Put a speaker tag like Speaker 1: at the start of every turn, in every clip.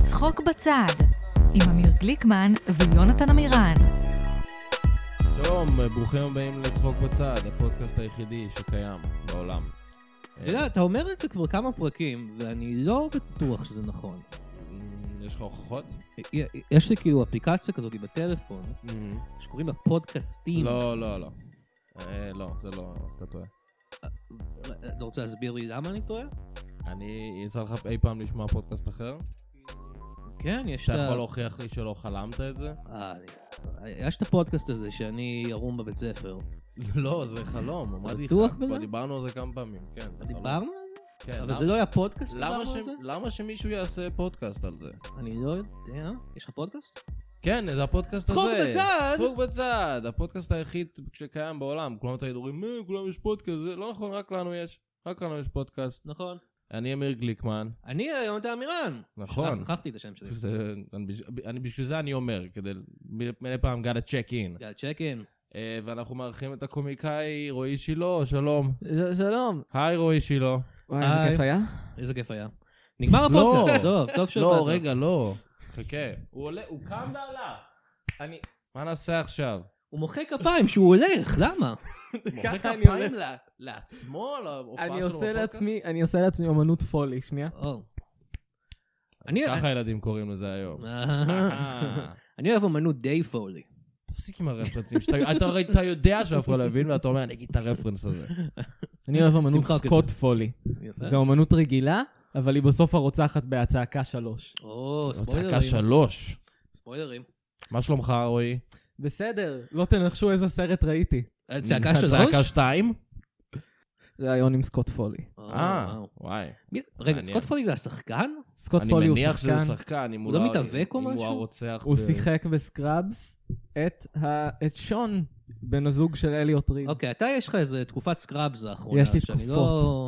Speaker 1: צחוק בצד, עם אמיר גליקמן ויונתן עמירן.
Speaker 2: שלום, ברוכים הבאים לצחוק בצד, הפודקאסט היחידי שקיים בעולם.
Speaker 3: אתה יודע, אתה אומר את זה כבר כמה פרקים, ואני לא בטוח שזה נכון.
Speaker 2: אמ, יש לך הוכחות?
Speaker 3: Mm-hmm. יש לי כאילו אפליקציה כזאת בטלפון, שקוראים לה פודקאסטים.
Speaker 2: לא, לא, לא. אה, לא, זה לא, אתה טועה.
Speaker 3: אתה רוצה להסביר לי למה אני טועה?
Speaker 2: אני, יצא לך אי פעם לשמוע פודקאסט אחר?
Speaker 3: כן, יש
Speaker 2: אתה
Speaker 3: את ה-
Speaker 2: יכול להוכיח לי שלא חלמת את זה?
Speaker 3: אה, יש את הפודקאסט הזה שאני ערום בבית ספר.
Speaker 2: לא, זה חלום, אמרתי לך.
Speaker 3: בטוח בזה?
Speaker 2: כבר דיברנו על זה כמה פעמים, כן. זה חלום.
Speaker 3: דיברנו על זה?
Speaker 2: כן,
Speaker 3: אבל
Speaker 2: למה-
Speaker 3: זה לא היה פודקאסט
Speaker 2: למה
Speaker 3: שדיברנו על
Speaker 2: ש-
Speaker 3: זה?
Speaker 2: למה שמישהו יעשה פודקאסט על זה?
Speaker 3: אני לא יודע. יש לך פודקאסט?
Speaker 2: כן, זה הפודקאסט הזה.
Speaker 3: צחוק בצד!
Speaker 2: צחוק בצד! הפודקאסט היחיד שקיים בעולם. כולם תמיד אומרים, מה, כולם יש פודקאסט. זה לא נכון, רק לנו יש. רק לנו יש פודקאסט.
Speaker 3: נכון.
Speaker 2: אני אמיר גליקמן.
Speaker 3: אני היום את האמירן.
Speaker 2: נכון.
Speaker 3: שכחתי את השם שלי.
Speaker 2: זה- אני בש- אני- בשביל זה אני אומר, כדי מ- מדי פעם gotta check in.
Speaker 3: יאללה, צ'ק אין.
Speaker 2: אה, ואנחנו מארחים את הקומיקאי רועי שילה, שלום.
Speaker 4: ש- שלום.
Speaker 2: היי רועי שילה.
Speaker 4: וואי, איזה
Speaker 3: היי.
Speaker 4: כיף היה.
Speaker 3: איזה כיף היה.
Speaker 2: לא.
Speaker 3: נגמר הפודקאסט, טוב, טוב שבאת.
Speaker 2: לא, רגע, לא. חכה. הוא עולה, הוא קם ועלה. אני... מה נעשה עכשיו?
Speaker 3: הוא מוחא כפיים שהוא הולך, למה?
Speaker 2: מוחא
Speaker 4: ככה אני
Speaker 2: כפיים
Speaker 4: הולך.
Speaker 2: לה- לעצמו, להופעה שלו
Speaker 4: אני עושה
Speaker 2: בפודקאסט?
Speaker 4: לעצמי, אני עושה לעצמי אמנות פולי, שנייה.
Speaker 3: או. אני,
Speaker 2: ככה ילדים קוראים לזה היום.
Speaker 3: אה. אני אוהב אמנות די פולי.
Speaker 2: תפסיק עם הרפרנסים, שאתה- אתה הרי- אתה יודע שאף אחד לא הבין ואתה אומר, אני אגיד את הרפרנס הזה.
Speaker 4: אני אוהב אמנות
Speaker 3: תמחק את
Speaker 4: סקוט פולי.
Speaker 3: כן.
Speaker 4: זו אמנות רגילה, אבל היא בסוף הרוצחת בהצעקה שלוש.
Speaker 3: או,
Speaker 2: צעקה
Speaker 3: ספוילרים.
Speaker 2: שלוש.
Speaker 3: ספוילרים.
Speaker 2: מה שלומך, רועי?
Speaker 4: בסדר, לא תנחשו איזה סרט ראיתי.
Speaker 3: אה, צעקה של
Speaker 2: צעקה
Speaker 3: ראש?
Speaker 2: שתיים?
Speaker 4: ראיון עם סקוט פולי.
Speaker 3: או,
Speaker 2: אה,
Speaker 3: וואו.
Speaker 2: וואי.
Speaker 3: מי-
Speaker 2: מעניין.
Speaker 3: רגע, סקוט פולי זה השחקן?
Speaker 4: סקוט
Speaker 2: אני
Speaker 4: פולי הוא
Speaker 2: מניח שזה
Speaker 4: שחקן,
Speaker 2: שחקן, אם הוא
Speaker 3: הוא לא מתאבק או
Speaker 2: אם הוא
Speaker 3: משהו?
Speaker 2: הרוצח.
Speaker 4: הוא
Speaker 2: ב-
Speaker 4: שיחק בסקראבס את ה- את שון, בן הזוג של אליוט ריד.
Speaker 3: אוקיי, אתה יש לך איזה תקופת סקראבס האחרונה.
Speaker 4: יש לי
Speaker 3: שאני לא-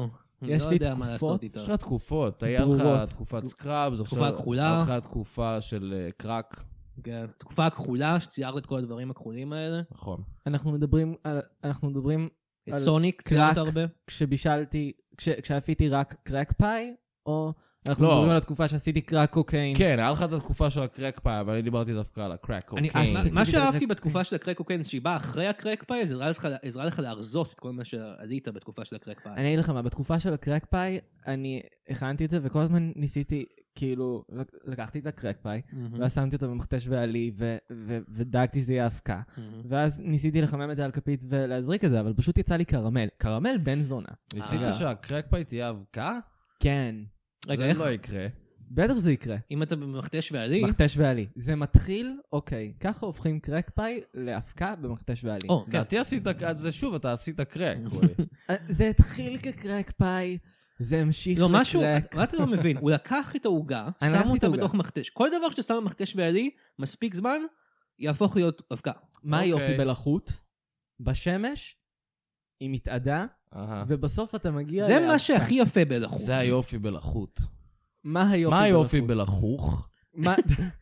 Speaker 4: תקופות.
Speaker 3: אני
Speaker 4: יש
Speaker 3: לא
Speaker 4: לי
Speaker 3: יודע מה
Speaker 4: תקופות.
Speaker 3: לעשות איתה.
Speaker 2: יש לך תקופות, היה לך
Speaker 4: ברורות.
Speaker 2: תקופת סקראבס,
Speaker 3: תקופה
Speaker 2: עכשיו-
Speaker 3: כחולה.
Speaker 2: היה לך תקופה של אה, קראק,
Speaker 3: כן, תקופה הכחולה שציירת את כל הדברים הכחולים האלה.
Speaker 2: נכון.
Speaker 4: אנחנו מדברים על- אנחנו מדברים
Speaker 3: את
Speaker 4: על
Speaker 3: סוניק ציירת
Speaker 4: קראק.
Speaker 3: הרבה.
Speaker 4: כשבישלתי, כש- כשעפיתי רק קרק פאי, או אנחנו
Speaker 2: לא.
Speaker 4: מדברים על התקופה שעשיתי קרק קוקיין.
Speaker 2: כן, היה לך את התקופה של הקרק פאי, אבל אני דיברתי דווקא על אוקיי. הקרק
Speaker 3: אני-
Speaker 2: קוקיין.
Speaker 3: מה- מה שאהבתי בתקופה של הקרק קוקיין, שהיא באה אחרי הקרק פאי, זה עזרה לך- עזרה לך להרזות את כל מה שעלית בתקופה של הקרק פאי.
Speaker 4: אני אגיד לך מה, בתקופה של הקרק פאי, אני הכנתי את זה, וכל הזמן ניסיתי, כאילו, לק- לקחתי את הקרק פאי,
Speaker 3: מהמם.
Speaker 4: ואז שמתי אותו במכתש ועלי, ו- ו- ודאגתי שזה יהיה אבקה.
Speaker 3: מהמם.
Speaker 4: ואז ניסיתי לחמם את זה על כפית ולהזריק את זה, אבל פשוט יצא לי קרמל. קרמל בן זונה.
Speaker 2: ניסית
Speaker 3: אה.
Speaker 2: שהקרק פאי תהיה אבקה?
Speaker 4: כן.
Speaker 3: רגע,
Speaker 2: זה
Speaker 3: איך-
Speaker 2: לא יקרה.
Speaker 4: בטח שזה יקרה.
Speaker 3: אם אתה במכתש ועלי,
Speaker 4: מכתש ועלי. זה מתחיל, אוקיי, ככה הופכים קרק פאי לאבקה במכתש ועלי.
Speaker 3: או, כן.
Speaker 2: לדעתי נכון, עשית, אז זה שוב, אתה עשית קרק. רועי.
Speaker 4: אה, זה התחיל כקרק פאי, זה המשיך
Speaker 3: לא, משהו,
Speaker 4: לקרק.
Speaker 3: מה אתה לא מבין? הוא לקח את העוגה,
Speaker 4: אני
Speaker 3: שם
Speaker 4: לקחתי את
Speaker 3: אותה
Speaker 4: העוגה.
Speaker 3: בתוך מכתש. כל דבר שאתה שם במכתש ועלי, מספיק זמן, יהפוך להיות אבקה.
Speaker 4: מה
Speaker 2: אוקיי.
Speaker 4: היופי בלחות? בשמש, עם מתעדה,
Speaker 2: אהה.
Speaker 4: ובסוף אתה מגיע...
Speaker 3: זה
Speaker 4: לה-
Speaker 3: מה שהכי יפה בלחות.
Speaker 2: זה היופי בלחות.
Speaker 4: מה היופי
Speaker 2: מה היופי
Speaker 4: בלחות?
Speaker 2: בלחוך?
Speaker 4: מה-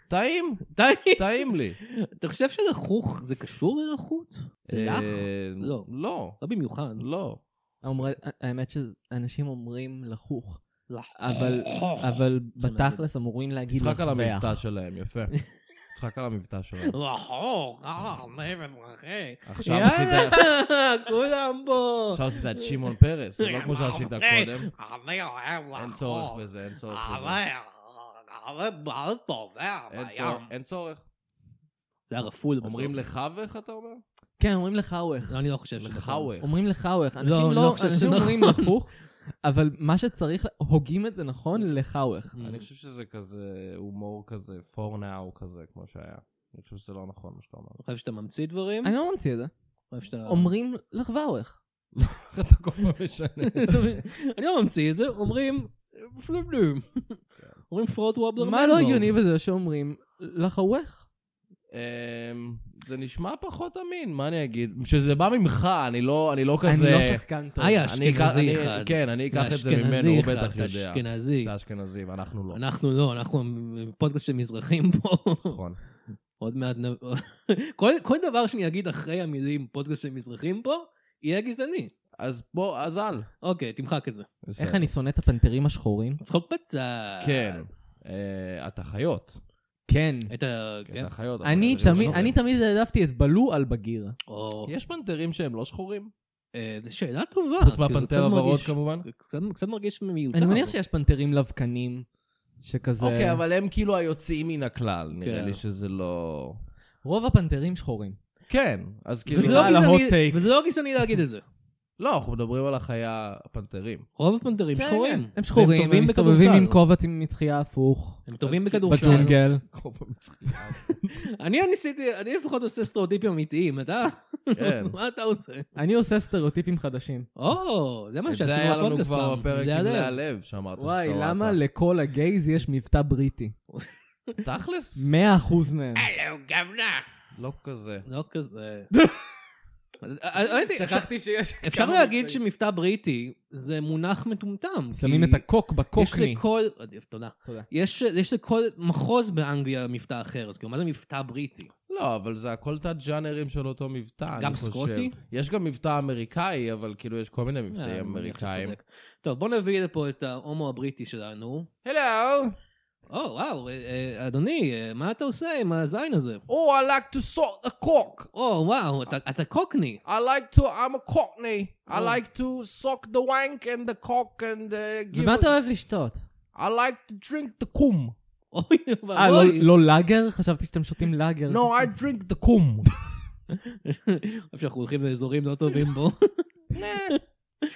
Speaker 2: טעים,
Speaker 3: די,
Speaker 2: טעים לי.
Speaker 3: אתה חושב שלחוך זה קשור ללחות? זה לך?
Speaker 2: אה,
Speaker 3: לא.
Speaker 2: לא,
Speaker 3: לא במיוחד.
Speaker 2: לא.
Speaker 4: אומרי- האמת שאנשים אומרים לחוך,
Speaker 3: לח-
Speaker 4: אבל- אבל בתכלס אמורים אה, להגיד
Speaker 2: תצחק על המבטא
Speaker 4: לחווח.
Speaker 2: שלהם, יפה. תצחק על המבטא שלהם.
Speaker 3: לחוך, אה, מעבר אחי.
Speaker 2: עכשיו עשית-
Speaker 3: יאללה, כולם פה.
Speaker 2: עכשיו עשית את שמעון פרס, זה לא כמו שעשית קודם.
Speaker 3: אני אוהב לחוך.
Speaker 2: אין צורך בזה, אין צורך בזה.
Speaker 3: אבל- אבל מאוד טוב, אה,
Speaker 2: אין
Speaker 3: בים.
Speaker 2: צורך, אין צורך.
Speaker 3: זה היה רפול בסוף.
Speaker 2: אומרים לך ואיך אתה אומר?
Speaker 4: כן, אומרים לחווך.
Speaker 2: אה,
Speaker 3: לא, אני לא חושב שזה
Speaker 2: לך
Speaker 3: נכון.
Speaker 2: ואיך.
Speaker 4: אומרים לחווך. אנשים
Speaker 3: לא,
Speaker 4: לא
Speaker 3: לא חושב
Speaker 4: אנשים
Speaker 3: שזה
Speaker 4: אומרים
Speaker 3: נכון.
Speaker 4: לחוך, אבל מה שצריך, הוגים את זה נכון לחווך.
Speaker 2: אני חושב שזה כזה הומור כזה, for now כזה, כמו שהיה. אני חושב שזה לא נכון מה שאתה אומר.
Speaker 3: אני חושב שאתה ממציא דברים.
Speaker 4: אני לא ממציא את זה.
Speaker 3: אני חושב שאתה-
Speaker 4: אומרים לחווך.
Speaker 2: איך אתה כל פעם משנה?
Speaker 3: אני לא ממציא את זה, אומרים פלובלום. אומרים פרוט וובלר
Speaker 4: מה לא הגיוני בזה שאומרים לחווך?
Speaker 2: אמ, זה נשמע פחות אמין, מה אני אגיד? שזה בא ממך, אני לא, אני לא כזה...
Speaker 4: אני לא שחקן טוב.
Speaker 3: היה
Speaker 2: אני אקח-
Speaker 3: אשכנזי
Speaker 2: אני-
Speaker 3: אחד.
Speaker 2: כן, אני אקח את זה
Speaker 3: אתה
Speaker 2: ממנו,
Speaker 3: אשכנזי
Speaker 2: הוא
Speaker 3: אחד,
Speaker 2: בטח
Speaker 3: אתה
Speaker 2: יודע.
Speaker 3: אשכנזי.
Speaker 2: אתה אשכנזי, ואנחנו לא.
Speaker 3: אנחנו לא, אנחנו פודקאסט של מזרחים פה.
Speaker 2: נכון.
Speaker 3: עוד מעט נ... כל, כל דבר שאני אגיד אחרי המילים פודקאסט של מזרחים פה, יהיה גזעני.
Speaker 2: אז בוא, אז אל.
Speaker 3: אוקיי, תמחק את זה.
Speaker 2: בסדר.
Speaker 4: איך אני שונא את הפנתרים השחורים?
Speaker 3: צחוק בצד.
Speaker 2: כן. אה, את החיות.
Speaker 4: כן.
Speaker 3: את ה...
Speaker 2: את
Speaker 3: כן.
Speaker 2: החיות.
Speaker 4: אני
Speaker 2: החברים
Speaker 4: תמיד-
Speaker 2: שלו.
Speaker 4: אני תמיד העדפתי את בלו על בגיר.
Speaker 3: או...
Speaker 2: יש פנתרים שהם לא שחורים?
Speaker 3: אה, זו שאלה טובה.
Speaker 2: חוץ
Speaker 3: כאילו, זה
Speaker 2: מהפנתר
Speaker 3: קצת
Speaker 2: הוורוד
Speaker 3: מרגיש-
Speaker 2: כמובן.
Speaker 3: קצת- קצת מרגיש מיותר.
Speaker 4: אני מניח שיש פנתרים לבקנים, שכזה...
Speaker 2: אוקיי, אבל הם כאילו היוצאים מן הכלל, נראה
Speaker 3: כן.
Speaker 2: לי שזה לא...
Speaker 4: רוב הפנתרים שחורים.
Speaker 2: כן, אז כאילו...
Speaker 3: וזה לא
Speaker 4: על ההוט
Speaker 3: גזעני-
Speaker 4: טייק.
Speaker 3: וזה לא גזעני להגיד את זה.
Speaker 2: לא, אנחנו מדברים על החיה הפנתרים.
Speaker 3: רוב הפנתרים
Speaker 2: כן,
Speaker 3: שחורים.
Speaker 4: הם שחורים,
Speaker 3: טובים
Speaker 4: הם מסתובבים
Speaker 3: בכדורסל.
Speaker 4: עם כובע מצחייה הפוך,
Speaker 3: הם טובים
Speaker 2: אז
Speaker 3: בכדורסל.
Speaker 4: בג'ונגל.
Speaker 2: כובע מצחיק.
Speaker 3: אני ניסיתי, אני לפחות עושה סטריאוטיפים אמיתיים, אתה?
Speaker 2: כן.
Speaker 3: אז מה אתה עושה?
Speaker 4: אני עושה סטריאוטיפים חדשים.
Speaker 3: או, זה מה
Speaker 2: את זה
Speaker 3: שעשינו
Speaker 2: היה לנו
Speaker 3: בפודקאסט פעם.
Speaker 2: כבר בפרק עם
Speaker 3: ליד
Speaker 2: לאה
Speaker 3: הלב.
Speaker 2: לב, שאמרת.
Speaker 4: וואי,
Speaker 2: שאמרת.
Speaker 4: למה לכל הגייז יש מבטא בריטי?
Speaker 2: תכלס,
Speaker 4: 100% מהם.
Speaker 3: אה,
Speaker 2: לא כזה.
Speaker 3: לא כזה. האמת היא, אפשר-
Speaker 4: שיש...
Speaker 3: אפשר להגיד שמבטא בריטי זה מונח מטומטם.
Speaker 4: שמים
Speaker 3: כי
Speaker 4: את הקוק
Speaker 3: יש
Speaker 4: בקוקני.
Speaker 3: לכל, עדיף, תודה.
Speaker 4: תודה.
Speaker 3: יש יש לכל מחוז באנגליה מבטא אחר, אז כאילו, מה זה מבטא בריטי?
Speaker 2: לא, אבל זה הכל תת-ג'אנרים של אותו מבטא, אני חושב.
Speaker 3: גם סקוטי?
Speaker 2: יש גם מבטא אמריקאי, אבל כאילו יש כל מיני
Speaker 3: אה,
Speaker 2: מבטאים
Speaker 3: אני מניח שאתה
Speaker 2: אמריקאים.
Speaker 3: צודק. טוב, בוא נביא לפה את ההומו הבריטי שלנו.
Speaker 2: הלו!
Speaker 3: או, וואו, אה, אה, אדוני, אה, מה אתה עושה עם הזין הזה?
Speaker 2: Oh, I like to sort the cock.
Speaker 3: או, וואו, אתה- אתה קוקני.
Speaker 2: I like to, I'm a cockney. I
Speaker 3: Oh.
Speaker 2: like to suck the wank and the cock and uh, give
Speaker 4: ומה
Speaker 2: it-
Speaker 4: אתה אוהב לשתות?
Speaker 2: I like to drink the cum.
Speaker 3: אוי,
Speaker 4: אה, לא-
Speaker 3: ואבוי.
Speaker 4: לא לאגר? חשבתי שאתם שותים לאגר.
Speaker 3: לא.
Speaker 2: No, I drink the cum.
Speaker 3: אף שאנחנו הולכים לאזורים לא טובים בו.
Speaker 2: Nah.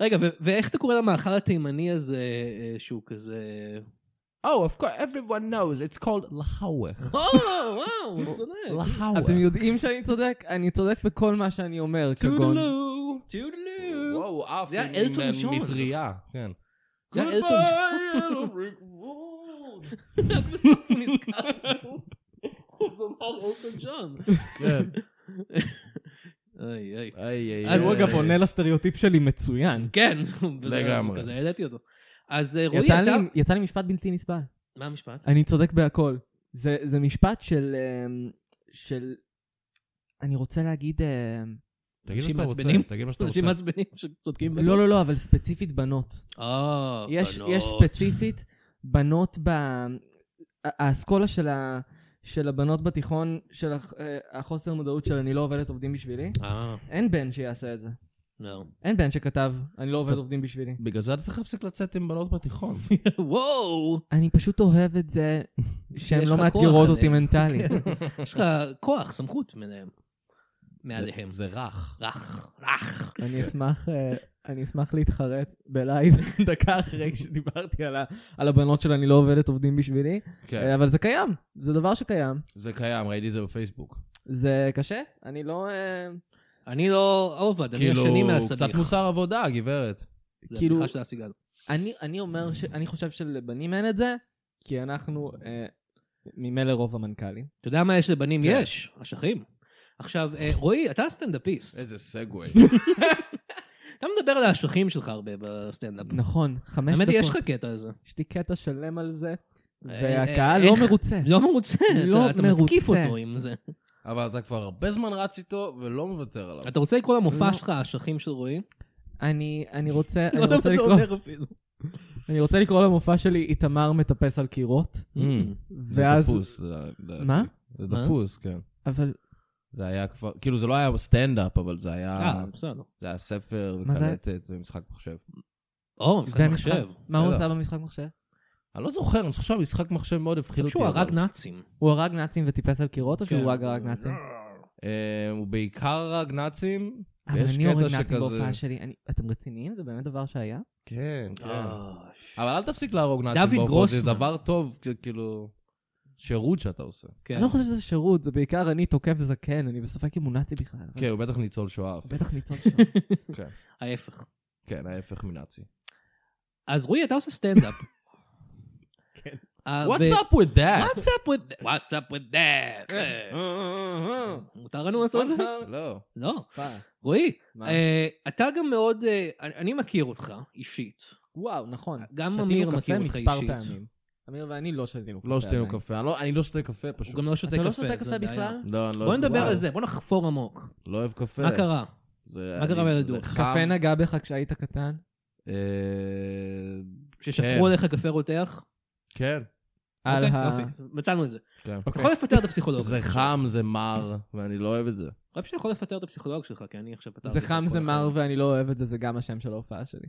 Speaker 3: רגע, ו- ואיך אתה קורא למאכל התימני הזה, אה, שהוא כזה...
Speaker 2: Oh, of course, everyone knows. It's called lahawah.
Speaker 3: או, וואו, הוא צודק.
Speaker 4: אתם
Speaker 2: Lahawah.
Speaker 4: יודעים שאני צודק? אני צודק בכל מה שאני אומר, כגון...
Speaker 3: טודלו, טודלו.
Speaker 2: וואו, אף
Speaker 3: זה היה אלטון ג'ון.
Speaker 2: מטריה. כן.
Speaker 3: זה היה אלטון
Speaker 2: ג'ון.
Speaker 3: רק בסוף הוא נזכר. אז הוא אמר אולטון ג'ון.
Speaker 2: כן.
Speaker 3: איי, איי.
Speaker 2: איי, איי,
Speaker 3: אז
Speaker 4: שהוא
Speaker 2: איי.
Speaker 4: אגב עונה לסטריאוטיפ שלי מצוין.
Speaker 3: כן,
Speaker 2: לגמרי.
Speaker 3: בזה העליתי אותו. אז אה, רועי,
Speaker 4: יצא
Speaker 3: אתה...
Speaker 4: לי- אה, יצא לי משפט בלתי נסבל.
Speaker 3: מה המשפט?
Speaker 4: אני צודק בהכל. זה, זה משפט של... אמ, של... אני רוצה להגיד... אמ,
Speaker 2: תגיד מה
Speaker 3: אנשים
Speaker 2: שאתה רוצה,
Speaker 3: מעצבנים.
Speaker 2: תגיד מה שאתה רוצה.
Speaker 3: אנשים מעצבנים שצודקים בזה.
Speaker 4: לא, לא, לא, אבל ספציפית בנות.
Speaker 3: אה,
Speaker 4: יש,
Speaker 3: בנות.
Speaker 4: יש ספציפית בנות ב... ה- האסכולה של, ה... של הבנות בתיכון, של הח... אה, החוסר מודעות של אני לא עובדת עובדים בשבילי,
Speaker 3: אה,
Speaker 4: אין בן שיעשה את זה.
Speaker 3: לא.
Speaker 4: אין בן שכתב, אני לא עובד עובדים בשבילי.
Speaker 2: בגלל זה אתה צריך להפסיק לצאת עם בנות בתיכון.
Speaker 3: וואו!
Speaker 4: אני פשוט אוהב את זה שהן
Speaker 3: יש
Speaker 4: לא
Speaker 3: לך כוח כן.
Speaker 4: מאתגרות אותי
Speaker 3: עליהן.
Speaker 4: מנטלית.
Speaker 3: יש לך כוח, סמכות מעליהם. מעליהם.
Speaker 2: זה רך.
Speaker 3: רך, רך.
Speaker 4: אני אשמח, אה, אני אשמח להתחרט בלייב דקה אחרי שדיברתי על, ה, על הבנות של אני לא עובדת עובדים בשבילי,
Speaker 2: כן,
Speaker 4: אה, אבל זה קיים, זה דבר שקיים.
Speaker 2: זה קיים, ראיתי את זה בפייסבוק.
Speaker 4: זה קשה, אני לא... אה,
Speaker 3: אני לא עובד, אני
Speaker 2: כאילו,
Speaker 3: השני
Speaker 2: קצת
Speaker 3: מהסדיך.
Speaker 2: מוסר עבודה, גברת.
Speaker 3: זה
Speaker 4: כאילו-
Speaker 3: הבדיחה של הסיגל.
Speaker 4: אני, אני אומר, ש, אני חושב שלבנים אין את זה, כי אנחנו אה, ממילא רוב המנכ"לים.
Speaker 3: אתה יודע מה יש לבנים?
Speaker 2: כן.
Speaker 3: יש, אשכים. עכשיו, אה, רועי, אתה סטנדאפיסט.
Speaker 2: איזה סגווי.
Speaker 3: אתה מדבר על האשכים שלך הרבה בסטנדאפ.
Speaker 4: נכון, חמש דקות.
Speaker 3: האמת היא, יש לך קטע הזה.
Speaker 4: יש לי קטע שלם על זה,
Speaker 3: אה,
Speaker 4: והקהל
Speaker 3: אה,
Speaker 4: לא
Speaker 3: איך-
Speaker 4: מרוצה.
Speaker 3: לא מרוצה, אתה-
Speaker 4: לא
Speaker 3: אתה מתקיף
Speaker 4: מרוצה.
Speaker 3: אותו עם זה.
Speaker 2: אבל אתה כבר הרבה זמן רץ איתו ולא מוותר עליו.
Speaker 3: אתה רוצה לקרוא למופע
Speaker 4: לא.
Speaker 3: שלך האשכים של רועי?
Speaker 4: אני, אני רוצה,
Speaker 3: לא
Speaker 4: אני
Speaker 3: יודע
Speaker 4: רוצה
Speaker 3: מה זה
Speaker 4: לקרוא,
Speaker 3: אומר אפילו.
Speaker 4: אני רוצה לקרוא למופע שלי איתמר מטפס על קירות,
Speaker 2: זה
Speaker 4: ואז...
Speaker 2: דפוס. ל- ל-
Speaker 4: מה?
Speaker 2: זה
Speaker 3: מה?
Speaker 2: דפוס, כן.
Speaker 4: אבל
Speaker 2: זה היה כבר, כאילו זה לא היה סטנדאפ, אבל זה היה,
Speaker 3: אה, בסדר.
Speaker 2: זה היה ספר
Speaker 4: מה זה?
Speaker 2: וקלטת ומשחק מחשב.
Speaker 3: או, משחק
Speaker 4: זה
Speaker 3: מחשב.
Speaker 4: המשחק. מה הוא
Speaker 2: בטח.
Speaker 4: עשה במשחק מחשב?
Speaker 2: אני לא זוכר, אני חושב שהמשחק מחשב מאוד הפחיד אותי.
Speaker 3: שהוא
Speaker 2: אבל-
Speaker 3: הרג נאצים.
Speaker 4: הוא הרג נאצים וטיפס על קירות,
Speaker 3: כן.
Speaker 4: או שהוא רק הרג נאצים?
Speaker 2: אה, הוא בעיקר הרג נאצים.
Speaker 4: אבל
Speaker 2: ויש
Speaker 4: אני
Speaker 2: קטע
Speaker 4: הורג נאצים
Speaker 2: שכזה-
Speaker 4: בהופעה שלי. אני- אתם רציניים? זה באמת דבר שהיה?
Speaker 2: כן, כן.
Speaker 3: אה, ש-
Speaker 2: אבל אל תפסיק להרוג נאצים
Speaker 3: דוד
Speaker 2: באופן,
Speaker 3: גרוסמן.
Speaker 2: זה דבר טוב, כ- כאילו, שירות שאתה עושה.
Speaker 3: כן.
Speaker 4: אני לא חושב שזה שירות, זה בעיקר אני תוקף זקן, אני בספק אם הוא נאצי בכלל. אבל
Speaker 2: כן, הוא בטח ניצול שואה.
Speaker 4: הוא בטח ניצול שם.
Speaker 2: כן.
Speaker 3: ההפך.
Speaker 2: כן, ההפך מנאצי.
Speaker 3: אה, אז רועי, אתה עושה סטנדאפ. אה,
Speaker 4: כן.
Speaker 2: What's up with that?
Speaker 3: וואטסאפ with that? וואטסאפ with that? אה, Mm-hmm. מותר לנו לעשות את זה?
Speaker 2: לא.
Speaker 3: לא.
Speaker 4: פעם.
Speaker 3: רועי,
Speaker 4: מה?
Speaker 3: אה, אתה גם מאוד... אה, אני- אני מכיר אותך אישית.
Speaker 4: וואו, נכון.
Speaker 3: גם
Speaker 4: שתינו
Speaker 3: אמיר
Speaker 4: קפה
Speaker 3: מכיר אותך
Speaker 4: מספר
Speaker 3: אישית.
Speaker 4: פעמים. אמיר ואני לא שתינו קפה.
Speaker 2: לא שתינו
Speaker 4: עדיין.
Speaker 2: קפה, אני לא- אני לא שותה קפה פשוט.
Speaker 3: אה. הוא גם לא שותה
Speaker 4: אתה
Speaker 3: קפה.
Speaker 4: לא שותה
Speaker 3: זה
Speaker 4: קפה
Speaker 3: בעיה.
Speaker 4: בכלל? כן.
Speaker 2: לא, אני לא...
Speaker 3: בוא נדבר
Speaker 2: וואו,
Speaker 3: על זה, בוא נחפור עמוק.
Speaker 2: לא אוהב קפה.
Speaker 3: מה קרה?
Speaker 2: זה-
Speaker 3: מה
Speaker 2: אני-
Speaker 3: קרה בילדות?
Speaker 2: זה חם.
Speaker 4: קפה נגע בך כשהיית קטן?
Speaker 2: אה,
Speaker 3: ששפכו עליך קפה רותח?
Speaker 2: כן.
Speaker 4: כן. על
Speaker 3: אוקיי,
Speaker 4: ה... אוקיי.
Speaker 3: יופי, מצאנו את זה.
Speaker 2: כן.
Speaker 3: אתה יכול לפטר את הפסיכולוג.
Speaker 2: זה חם, זה מר, ואני לא אוהב את זה.
Speaker 3: אני חושב שאתה יכול לפטר את הפסיכולוג שלך, כי אני עכשיו פתרתי.
Speaker 4: זה
Speaker 3: את
Speaker 4: חם,
Speaker 3: כל
Speaker 4: זה
Speaker 3: אחד.
Speaker 4: מר ואני לא אוהב את זה, זה גם השם של ההופעה שלי.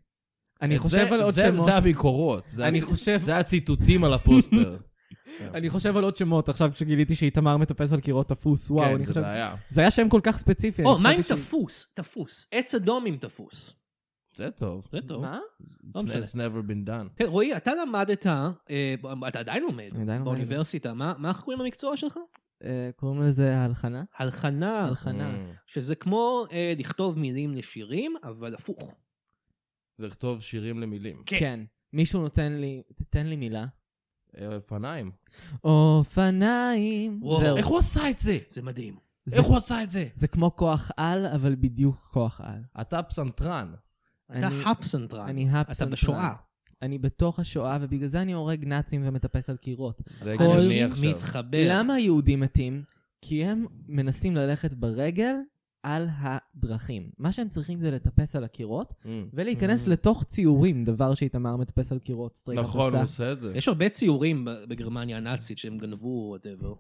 Speaker 4: אני
Speaker 2: את
Speaker 4: חושב
Speaker 2: זה-
Speaker 4: על עוד
Speaker 2: זה-
Speaker 4: שמות.
Speaker 2: זה הביקורות. זה
Speaker 4: אני
Speaker 2: הצ-
Speaker 4: חושב-
Speaker 2: זה הציטוטים על הפוסטר.
Speaker 4: אני חושב על עוד שמות עכשיו כשגיליתי שאיתמר מטפס על קירות תפוס, וואו,
Speaker 2: כן,
Speaker 4: אני
Speaker 2: זה
Speaker 4: חושב...
Speaker 2: בעיה.
Speaker 4: זה היה שם כל כך ספציפי. אני
Speaker 3: או, מה עם
Speaker 4: כן, חשבתי ש-
Speaker 3: תפוס? תפוס. עץ אדום עם תפוס.
Speaker 2: זה טוב.
Speaker 3: זה טוב.
Speaker 4: מה?
Speaker 3: לא משנה.
Speaker 2: It's never been done.
Speaker 3: כן, רועי, אתה למדת, אה, אתה עדיין לומד
Speaker 4: אני עדיין לומד.
Speaker 3: באוניברסיטה, מה מה איך קוראים למקצוע שלך?
Speaker 4: אה, קוראים לזה ההלחנה?
Speaker 3: הלחנה,
Speaker 4: הלחנה.
Speaker 2: Mm.
Speaker 3: שזה כמו אה, לכתוב מילים לשירים, אבל הפוך.
Speaker 2: לכתוב שירים למילים.
Speaker 3: כן.
Speaker 4: כן. מישהו נותן לי, תתן לי מילה.
Speaker 2: אה, אופניים.
Speaker 4: אופניים.
Speaker 3: וואו,
Speaker 4: זהו.
Speaker 2: איך הוא עשה את זה?
Speaker 3: זה מדהים.
Speaker 4: זה-
Speaker 2: איך הוא עשה את זה?
Speaker 4: זה כמו כוח על, אבל בדיוק כוח על.
Speaker 2: אתה פסנתרן.
Speaker 3: אתה
Speaker 4: אני-
Speaker 3: הפסנתרן.
Speaker 4: אני הפסנתרן.
Speaker 3: אתה בשואה.
Speaker 4: אני בתוך השואה, ובגלל זה אני הורג נאצים ומטפס על קירות.
Speaker 2: זה
Speaker 4: כל
Speaker 2: גאוני עכשיו.
Speaker 3: מתחבר.
Speaker 4: למה היהודים מתים? כי הם מנסים ללכת ברגל על הדרכים. מה שהם צריכים זה לטפס על הקירות,
Speaker 2: Mm.
Speaker 4: ולהיכנס לתוך ציורים, דבר שאיתמר מטפס על קירות סטרייט.
Speaker 2: נכון, הוא
Speaker 4: הבסה.
Speaker 2: עושה את זה.
Speaker 3: יש הרבה ציורים ב- בגרמניה הנאצית שהם גנבו, וואטאבר.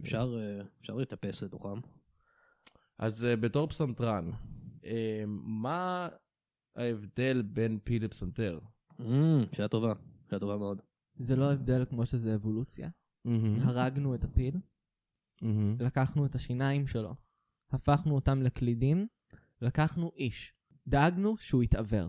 Speaker 3: אפשר אה, אפשר לטפס לתוכם.
Speaker 2: אז אה, בתור פסנתרן, אה, מה ההבדל בין פי לפסנתר?
Speaker 3: אמ, שאלה טובה. שאלה טובה מאוד.
Speaker 4: זה לא הבדל כמו שזה אבולוציה.
Speaker 2: Mm-hmm.
Speaker 4: הרגנו את הפיל,
Speaker 2: מהמם.
Speaker 4: לקחנו את השיניים שלו, הפכנו אותם לקלידים, לקחנו איש. דאגנו שהוא יתעוור.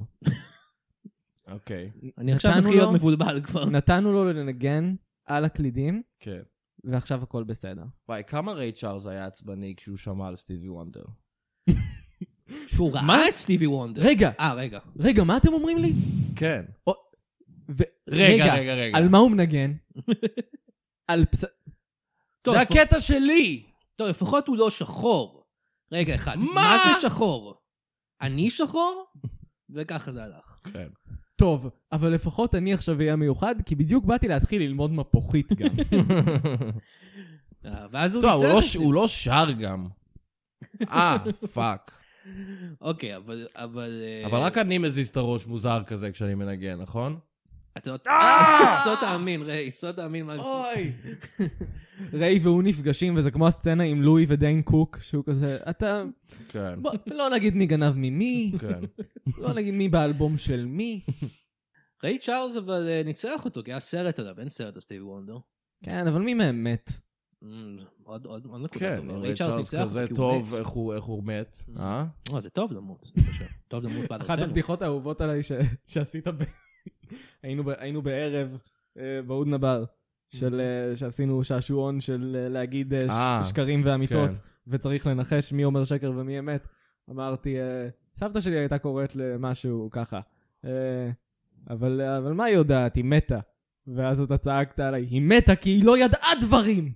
Speaker 2: אוקיי,
Speaker 3: אני עכשיו
Speaker 4: נתנו
Speaker 3: מתחיל להיות
Speaker 4: לו-
Speaker 3: מבולבל כבר.
Speaker 4: נתנו לו לנגן על הקלידים,
Speaker 2: כן.
Speaker 4: ועכשיו הכל בסדר.
Speaker 2: וואי, כמה רייט צ'ארלס היה עצבני כשהוא שמע על סטיבי וונדר?
Speaker 3: שהוא ראה את סטיבי וונדר.
Speaker 4: רגע,
Speaker 3: אה, רגע.
Speaker 4: רגע, מה אתם אומרים לי?
Speaker 2: כן.
Speaker 4: ו-
Speaker 2: רגע, רגע, רגע.
Speaker 4: על מה הוא מנגן? על פס...
Speaker 3: טוב,
Speaker 2: זה
Speaker 3: לפחות-
Speaker 2: הקטע שלי!
Speaker 3: טוב, לפחות הוא לא שחור. רגע אחד.
Speaker 2: מה?
Speaker 3: מה זה שחור? אני שחור? וככה זה הלך.
Speaker 2: כן.
Speaker 4: טוב, אבל לפחות אני עכשיו אהיה מיוחד, כי בדיוק באתי להתחיל ללמוד מפוחית גם.
Speaker 3: אה, ואז הוא
Speaker 2: טוב, הוא
Speaker 3: ניצל
Speaker 2: לא
Speaker 3: את
Speaker 2: ש-
Speaker 3: זה.
Speaker 2: הוא לא שר גם. אה, פאק.
Speaker 3: אוקיי, אבל... אבל אה,
Speaker 2: אבל רק אני מזיז את הראש מוזר כזה כשאני מנגן, נכון?
Speaker 3: אתה לא... אה, אתה לא תאמין, ריי. אתה לא תאמין מה...
Speaker 4: אוי! ריי והוא נפגשים, וזה כמו הסצנה עם לואי ודיין קוק, שהוא כזה, אתה...
Speaker 2: כן.
Speaker 4: בוא, לא נגיד מי גנב ממי,
Speaker 2: כן.
Speaker 4: לא נגיד מי באלבום של מי.
Speaker 3: ריי צ'ארלס אבל אה, ניצח אותו, כי היה סרט עליו, אין סרט על סטיבי וונדר.
Speaker 4: כן, אבל מי מהם מת?
Speaker 3: אמ, עוד עוד- עוד נקודה
Speaker 2: כן,
Speaker 3: טובה.
Speaker 2: רייט צ'ארלס
Speaker 3: אותו
Speaker 2: כזה
Speaker 3: כי הוא
Speaker 2: טוב,
Speaker 3: מת.
Speaker 2: איך הוא איך הוא מת,
Speaker 3: Mm.
Speaker 2: אה?
Speaker 3: אה, זה טוב למות, אני חושב. טוב למות בעד
Speaker 4: אחת
Speaker 3: ארצנו.
Speaker 4: הבדיחות האהובות עליי ש- שעשית ב... היינו ב- היינו בערב אה, בהודנה בר, של, אה, שעשינו שעשועון של אה, להגיד אה, ש-
Speaker 2: אה,
Speaker 4: שקרים ואמיתות,
Speaker 2: כן.
Speaker 4: וצריך לנחש מי אומר שקר ומי אמת. אמרתי, אה, סבתא שלי הייתה קוראת למשהו ככה, אה, אבל אבל מה היא יודעת? היא מתה. ואז אתה צעקת עליי, היא מתה כי היא לא ידעה דברים!